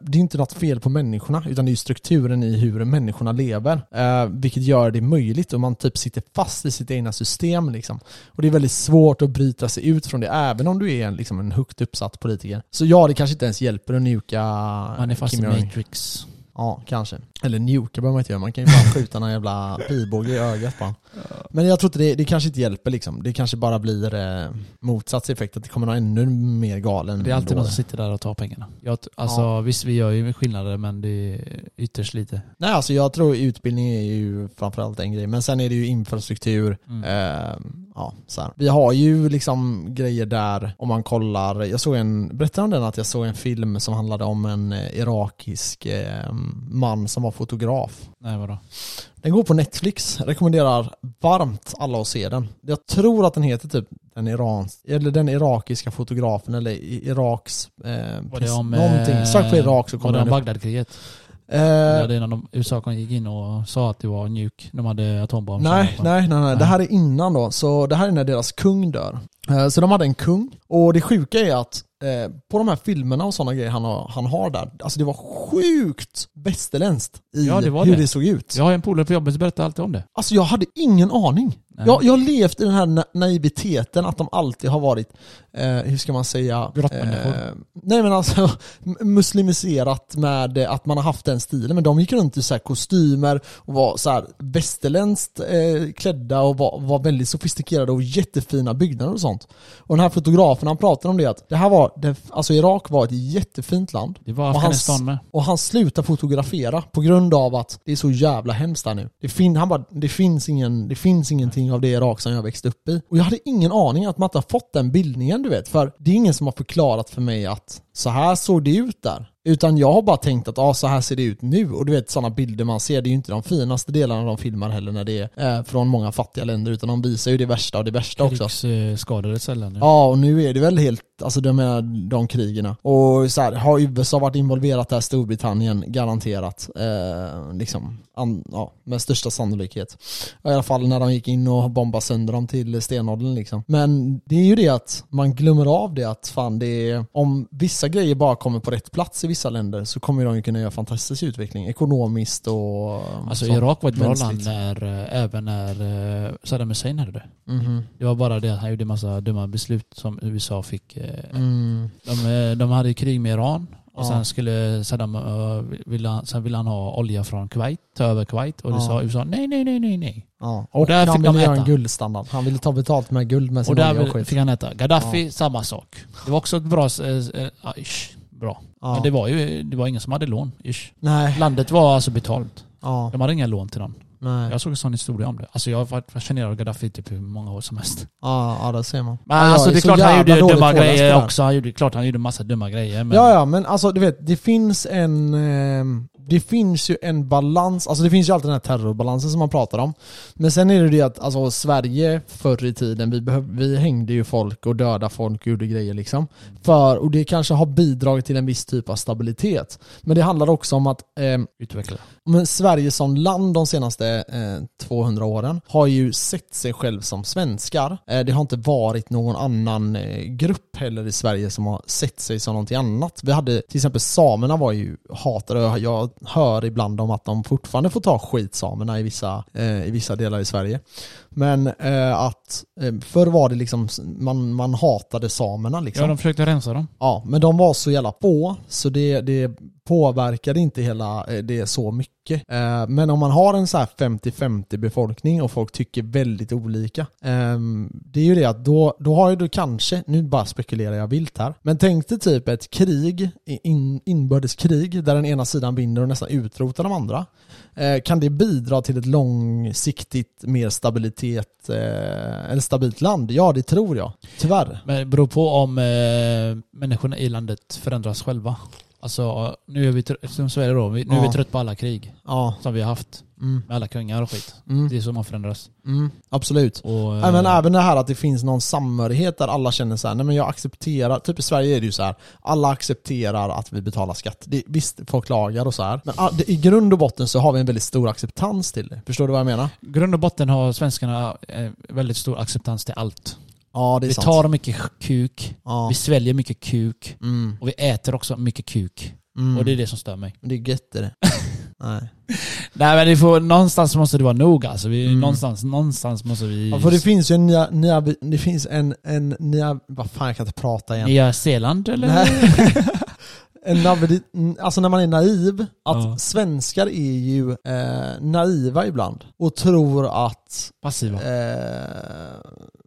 Speaker 1: Det är inte något fel på människorna, utan det är ju strukturen i hur människorna lever. eh, Vilket gör det möjligt och man typ sitter fast i sitt egna system liksom. Och det är väldigt svårt att bryta sig ut från det, även om du är en, liksom, en högt uppsatt politiker. Så ja, det kanske inte ens hjälper att njuka
Speaker 2: Man är fast i
Speaker 1: Kim Jong-Un.
Speaker 2: Matrix.
Speaker 1: Ja, kanske. Eller njuka behöver man inte göra, man kan ju bara skjuta någon jävla pilbåge i ögat på honom. Men jag tror inte det, det kanske inte hjälper liksom. Det kanske bara blir eh, motsatt effekt, att det kommer någon ännu mer galen.
Speaker 2: Det är alltid
Speaker 1: då.
Speaker 2: någon som sitter där och tar pengarna. Jag, t- alltså,
Speaker 1: Ja.
Speaker 2: Visst, vi gör ju skillnader, men det är ytterst lite.
Speaker 1: Nej, alltså jag tror utbildning är ju framförallt en grej, men sen är det ju infrastruktur.
Speaker 2: Mm.
Speaker 1: Eh, ja, så här. Vi har ju liksom grejer där, om man kollar, jag såg en, berättade om den att jag såg en film som handlade om en eh, irakisk eh, man som var fotograf.
Speaker 2: Nej, vadå?
Speaker 1: Den går på Netflix, rekommenderar varmt alla att se den. Jag tror att den heter typ den, Irans, eller den irakiska fotografen eller i- Iraks... Eh,
Speaker 2: Var det
Speaker 1: pres-
Speaker 2: om... eh,
Speaker 1: någonting. Sök på Irak så
Speaker 2: Var
Speaker 1: kommer
Speaker 2: det om
Speaker 1: den upp.
Speaker 2: Bagdadkriget? Ja,
Speaker 1: Eh,
Speaker 2: det är när de, USA kom- gick in och sa att det var mjuk. De hade atombomb.
Speaker 1: Nej,
Speaker 2: kärnvapen.
Speaker 1: nej, nej, nej. Det här är innan då. Så det här är när deras kung dör. Eh, Så de hade en kung. Och det sjuka är att eh, på de här filmerna och sådana grejer han har, han har där, alltså det var sjukt västerländskt i
Speaker 2: Ja, det var
Speaker 1: hur
Speaker 2: det.
Speaker 1: det såg ut.
Speaker 2: Jag har en polare på jobbet som berättar alltid om det.
Speaker 1: Alltså jag hade ingen aning.
Speaker 2: Nej.
Speaker 1: Jag, jag har levt i den här na- naiviteten att de alltid har varit, eh, hur ska man säga? eh,
Speaker 2: Grottmänniskor.
Speaker 1: nej men alltså m- muslimiserat med eh, att man har haft den stilen. Men de gick runt i så här kostymer och var så här västerländskt eh, klädda och var, var väldigt sofistikerade och jättefina byggnader och sånt. Och den här fotografen han pratade om det att det här var, det, alltså Irak var ett jättefint land.
Speaker 2: Det var
Speaker 1: Och hans-
Speaker 2: Afghanistan med.
Speaker 1: Och han slutar fotografera på grund av att det är så jävla hemskt där nu. Det, fin- han bara, det, finns ingen, det finns ingenting av det Irak som jag växte upp i. Och jag hade ingen aning att man inte har fått den bildningen du vet. För det är ingen som har förklarat för mig att så här såg det ut där. Utan jag har bara tänkt att ah, så här ser det ut nu. Och du vet sådana bilder man ser, det är ju inte de finaste delarna de filmar heller när det är eh, från många fattiga länder. Utan de visar ju det värsta av det värsta också.
Speaker 2: Krigsskadade sällan. Ja.
Speaker 1: Ja, och nu är det väl helt, alltså de, här, de krigerna. Och så här, har USA varit involverat där, Storbritannien garanterat. Eh, liksom, an, ja, med största sannolikhet. I alla fall när de gick in och bombade sönder dem till stenåldern liksom. Men det är ju det att man glömmer av det att fan det är, om vissa grejer bara kommer på rätt plats i vissa länder så kommer de ju kunna göra fantastisk utveckling ekonomiskt och
Speaker 2: Alltså
Speaker 1: sånt.
Speaker 2: Irak var ett bra land
Speaker 1: Mänskligt.
Speaker 2: när, eh, även när eh, Saddam Hussein hade det.
Speaker 1: Mhm.
Speaker 2: Det var bara det att han gjorde en massa dumma beslut som USA fick. eh,
Speaker 1: Mm.
Speaker 2: De, eh, de hade ju krig med Iran och
Speaker 1: Ja.
Speaker 2: sen skulle Saddam, eh, ville han, sen ville han ha olja från Kuwait, ta över Kuwait och det
Speaker 1: Ja.
Speaker 2: sa USA nej, nej, nej, nej, nej.
Speaker 1: Ja. Och,
Speaker 2: där
Speaker 1: han
Speaker 2: fick
Speaker 1: ville
Speaker 2: de
Speaker 1: göra
Speaker 2: äta.
Speaker 1: en guldstandard. Han ville ta betalt med guld med sin
Speaker 2: Och där
Speaker 1: olja och
Speaker 2: vill-
Speaker 1: Alltså, skit.
Speaker 2: fick han äta. Gaddafi, samma sak. Det var också ett bra... eh, eh, ah, ish, bra.
Speaker 1: Ja.
Speaker 2: Men det var ju det var ingen som hade lån. Ish.
Speaker 1: Nej.
Speaker 2: Landet var alltså betalt.
Speaker 1: Ja,
Speaker 2: De hade inga lån till någon.
Speaker 1: nej. Ja,
Speaker 2: Jag såg en sån historia om det. Alltså jag har varit fascinerad av Gaddafi typ hur många år som helst.
Speaker 1: ja det ser man.
Speaker 2: Men
Speaker 1: ja,
Speaker 2: alltså
Speaker 1: jag
Speaker 2: det är
Speaker 1: så
Speaker 2: klart han
Speaker 1: jävla
Speaker 2: gjorde
Speaker 1: dåligt
Speaker 2: dumma
Speaker 1: påläst på det här.
Speaker 2: grejer också. Han gjorde, klart han gjorde massa dumma grejer. Men
Speaker 1: Ja, ja, men alltså du vet, det finns en... ehm, det finns ju en balans, alltså det finns ju alltid den här terrorbalansen som man pratar om. Men sen är det ju det att alltså, Sverige förr i tiden, vi, behöv, vi hängde ju folk och dödade folk och gjorde grejer liksom. För, och det kanske har bidragit till en viss typ av stabilitet. Men det handlar också om att ehm,
Speaker 2: utveckla.
Speaker 1: Men Sverige som land de senaste eh, 200 åren har ju sett sig själv som svenskar. Eh, det har inte varit någon annan eh, grupp heller i Sverige som har sett sig som någonting annat. Vi hade till exempel samerna var ju hatade. Jag, jag hör ibland om att de fortfarande får ta skit samerna i vissa, eh, i vissa delar i Sverige. Men eh, att eh, förr var det liksom man, man hatade samerna liksom.
Speaker 2: Ja, de försökte rensa dem.
Speaker 1: Ja, men de var så jävla få så det, det påverkar det inte hela eh, det så mycket. Eh, Men om man har en så här 50-50 befolkning och folk tycker väldigt olika. eh, Det är ju det att då, då har ju du kanske, nu bara spekulerar jag vilt här, men tänk dig typ ett krig, in, inbördeskrig, där den ena sidan vinner och nästan utrotar de andra. Eh, Kan det bidra till ett långsiktigt mer stabilitet, eh, eller stabilt land? Ja, det tror jag. Tyvärr.
Speaker 2: Men det beror på om eh, människorna i landet förändras själva. Alltså nu är vi, tr- som så är det då, vi- nu är
Speaker 1: Ja.
Speaker 2: vi trött på alla krig
Speaker 1: Ja.
Speaker 2: som vi har haft.
Speaker 1: Mm.
Speaker 2: Med alla kungar och skit.
Speaker 1: Mm.
Speaker 2: Det är så man förändras.
Speaker 1: Mm. Absolut.
Speaker 2: Och, eh,
Speaker 1: Nej, men även det här att det finns någon samhörighet där alla känner så här, nej men jag accepterar, typ i Sverige är det ju så här, alla accepterar att vi betalar skatt. Det, visst, folk klagar och så här, men all- det- i grund och botten så har vi en väldigt stor acceptans till det. Förstår du vad jag menar?
Speaker 2: eh, grund och botten har svenskarna eh, väldigt stor acceptans till allt.
Speaker 1: Ja, det är
Speaker 2: Vi
Speaker 1: sant.
Speaker 2: tar mycket kuk,
Speaker 1: ja.
Speaker 2: vi sväljer mycket kuk
Speaker 1: mm.
Speaker 2: och vi äter också mycket kuk.
Speaker 1: Mm.
Speaker 2: Och det är det som stör mig.
Speaker 1: det är gött är det. nej.
Speaker 2: Nej men det får, någonstans måste det vara nog alltså. Vi,
Speaker 1: Mm.
Speaker 2: någonstans, någonstans måste vi...
Speaker 1: Ja, för det finns ju en nya, nya det finns en, en nya, vad fan jag kan inte prata igen.
Speaker 2: Nya Zeeland eller?
Speaker 1: Nej. En naiv, alltså när man är naiv, att
Speaker 2: Ja.
Speaker 1: svenskar är ju eh, naiva ibland och tror att,
Speaker 2: Passiva.
Speaker 1: eh,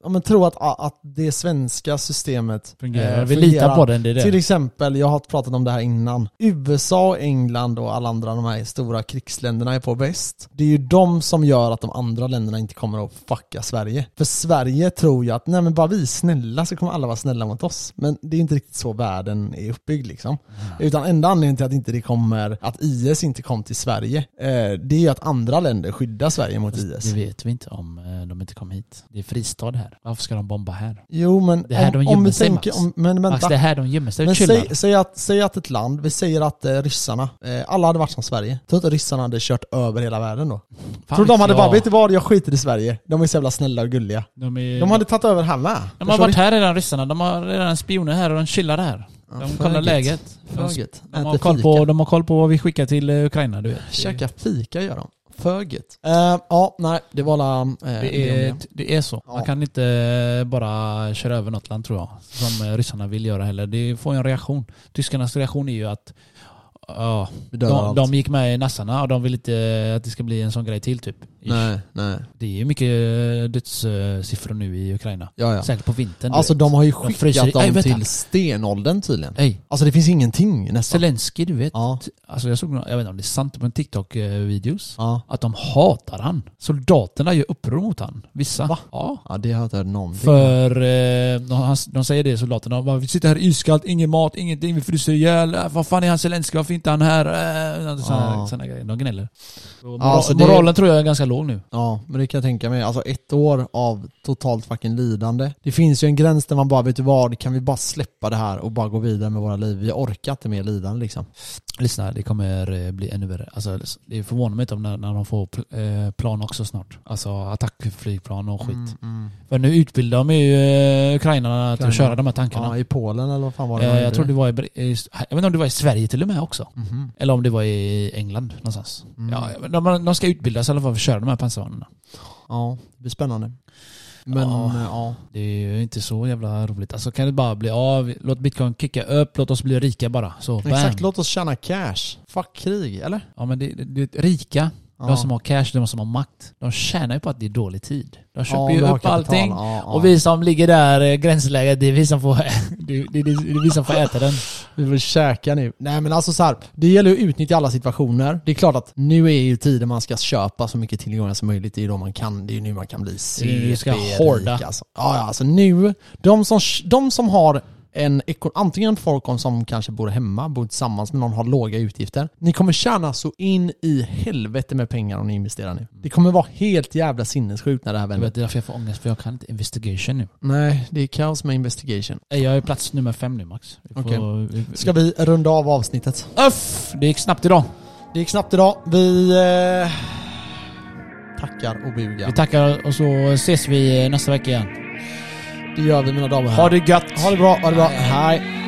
Speaker 1: ja, men tror att, att det svenska systemet
Speaker 2: Fungerar.
Speaker 1: eh,
Speaker 2: vi
Speaker 1: fungerar.
Speaker 2: litar på den, det är det.
Speaker 1: Till exempel, jag har pratat om det här innan, USA, England och alla andra de här stora krigsländerna är på väst. Det är ju de som gör att de andra länderna inte kommer att fucka Sverige. För Sverige tror ju att, nej men bara vi är snälla så kommer alla vara snälla mot oss. Men det är inte riktigt så världen är uppbyggd liksom. Utan enda anledningen till att inte det kommer, att IS inte kom till Sverige, eh, det är ju att andra länder skyddar Sverige mot IS.
Speaker 2: Det vet vi inte om eh, de inte kom hit. Det är fristad här. Varför ska de bomba här?
Speaker 1: Jo men
Speaker 2: Det här
Speaker 1: om,
Speaker 2: de
Speaker 1: om
Speaker 2: gömmer
Speaker 1: vi
Speaker 2: sig,
Speaker 1: tänker,
Speaker 2: Max.
Speaker 1: om, men vänta.
Speaker 2: Max, det är här de gömmer sig
Speaker 1: Men
Speaker 2: och chillar.
Speaker 1: säg, säg, att, säg att ett land, vi säger att eh, ryssarna, eh, alla hade varit som Sverige. Tror du inte ryssarna hade kört över hela världen då?
Speaker 2: Fan
Speaker 1: Tror du de
Speaker 2: vet
Speaker 1: hade
Speaker 2: jag.
Speaker 1: bara, vet du vad, jag skiter i Sverige. De är så jävla snälla och gulliga.
Speaker 2: De, är,
Speaker 1: De hade tagit över här med.
Speaker 2: de har varit här redan ryssarna. De har redan spioner här och de chillar här. De kollar läget. De,
Speaker 1: Föget.
Speaker 2: de, har koll på, de har koll på vad vi skickar till eh, Ukraina, du vet.
Speaker 1: Käka fika gör de. Föget. Eh, ja, nej, det var alla... Eh,
Speaker 2: Det är,
Speaker 1: om det.
Speaker 2: det är så. Man
Speaker 1: Ja.
Speaker 2: kan inte eh, bara köra över något land tror jag. Som eh, ryssarna vill göra heller. Det får ju en reaktion. Tyskarnas reaktion är ju att ja,
Speaker 1: Vi dödar
Speaker 2: de,
Speaker 1: allt.
Speaker 2: de gick med i nassarna och de vill inte eh, att det ska bli en sån grej till typ.
Speaker 1: Nej, nej.
Speaker 2: Det är ju mycket eh, dödssiffror nu i Ukraina.
Speaker 1: Ja, ja.
Speaker 2: Särskilt på vintern. du
Speaker 1: Alltså
Speaker 2: vet.
Speaker 1: de har ju
Speaker 2: De fryser i-
Speaker 1: skickat
Speaker 2: Nej,
Speaker 1: dem
Speaker 2: vänta.
Speaker 1: till stenåldern tydligen.
Speaker 2: Ey,
Speaker 1: Alltså det finns ingenting nästan.
Speaker 2: Zelensky du vet.
Speaker 1: Ja,
Speaker 2: Alltså jag såg, någon- jag vet inte om det är sant, på en TikTok-videos.
Speaker 1: ja.
Speaker 2: Att de hatar han. Soldaterna gör uppror mot han. Vissa.
Speaker 1: Va?
Speaker 2: Ja.
Speaker 1: Ja, det har jag inte hört någonting om.
Speaker 2: För eh, de, han- de säger det soldaterna, De bara, vi sitter här iskallt, ingen mat, ingenting, vi fryser ihjäl, Äh, vad fan är han Zelenskyj, varför är inte han här? Äh, såna,
Speaker 1: Ja.
Speaker 2: såna grejer, de gnäller. Så Moral,
Speaker 1: Alltså, det-
Speaker 2: moralen tror jag är ganska låg nu.
Speaker 1: Ja, men det kan jag tänka mig. Alltså ett år av totalt fucking lidande. Det finns ju en gräns där man bara, vet du vad, kan vi bara släppa det här och bara gå vidare med våra liv? Vi orkar inte mer lidande liksom.
Speaker 2: Lyssna, det kommer eh, bli ännu värre. Alltså, det förvånar mig inte om när, när de får pl- eh, plan också snart. Alltså attackflygplan och skit.
Speaker 1: Mm.
Speaker 2: För nu utbildar de ju eh, ukrainarna till
Speaker 1: Ukraina.
Speaker 2: att köra de här
Speaker 1: Ja,
Speaker 2: tankarna.
Speaker 1: i Polen eller vad fan var det?
Speaker 2: eh, jag tror det var i, Bre- i, jag vet inte om det var i Sverige till och med också.
Speaker 1: Mhm.
Speaker 2: Eller om det var i England någonstans.
Speaker 1: Mm.
Speaker 2: Ja, men de, de ska utbildas i alla fall för att köra de här pansarvagnarna.
Speaker 1: Ja, det blir spännande. Men
Speaker 2: Ja.
Speaker 1: eh, ja.
Speaker 2: Det är ju inte så jävla roligt. Alltså kan det bara bli av, låt bitcoin kicka upp, låt oss bli rika bara. Så, bam.
Speaker 1: Exakt, låt oss tjäna cash. Fuck krig, eller?
Speaker 2: Ja men det, det, det, rika, de som har cash, de som har makt, de tjänar ju på att det är dålig tid. De köper
Speaker 1: vi
Speaker 2: ju
Speaker 1: har
Speaker 2: upp
Speaker 1: kapital.
Speaker 2: allting.
Speaker 1: Ja, ja.
Speaker 2: Och vi som ligger där, eh, gränsläget, det är vi som får, det, det, det, det är vi som får äta den.
Speaker 1: Vi vill käka nu. Nej men alltså så här, det gäller ju att utnyttja alla situationer. Det är klart att nu är ju tiden man ska köpa så mycket tillgångar som möjligt. Det är ju då man kan, det är ju nu man kan bli
Speaker 2: nu
Speaker 1: CP
Speaker 2: du ska hoarda.
Speaker 1: Alltså. Ja, ja, alltså nu, de som, de som har en eko- antingen folk om som kanske bor hemma, bor tillsammans med någon, har låga utgifter. Ni kommer tjäna så in i helvete med pengar om ni investerar nu. Det kommer vara helt jävla sinnessjukt när det här
Speaker 2: Jag
Speaker 1: vänder.
Speaker 2: vet, det är därför jag får ångest, för jag kan inte investigation nu.
Speaker 1: Nej, det är kaos med investigation.
Speaker 2: Ey, Eh, Jag är plats nummer fem nu Max. Vi får,
Speaker 1: Okej.
Speaker 2: vi, vi,
Speaker 1: Ska vi runda av avsnittet?
Speaker 2: Uff, det gick snabbt idag.
Speaker 1: Det gick snabbt idag. Vi eh, tackar och bugar.
Speaker 2: Vi tackar och så ses vi eh, nästa vecka igen.
Speaker 1: Det gör vi mina damer och
Speaker 2: Ha
Speaker 1: herrar.
Speaker 2: det gött!
Speaker 1: Ha det bra, ha det bra. Hej.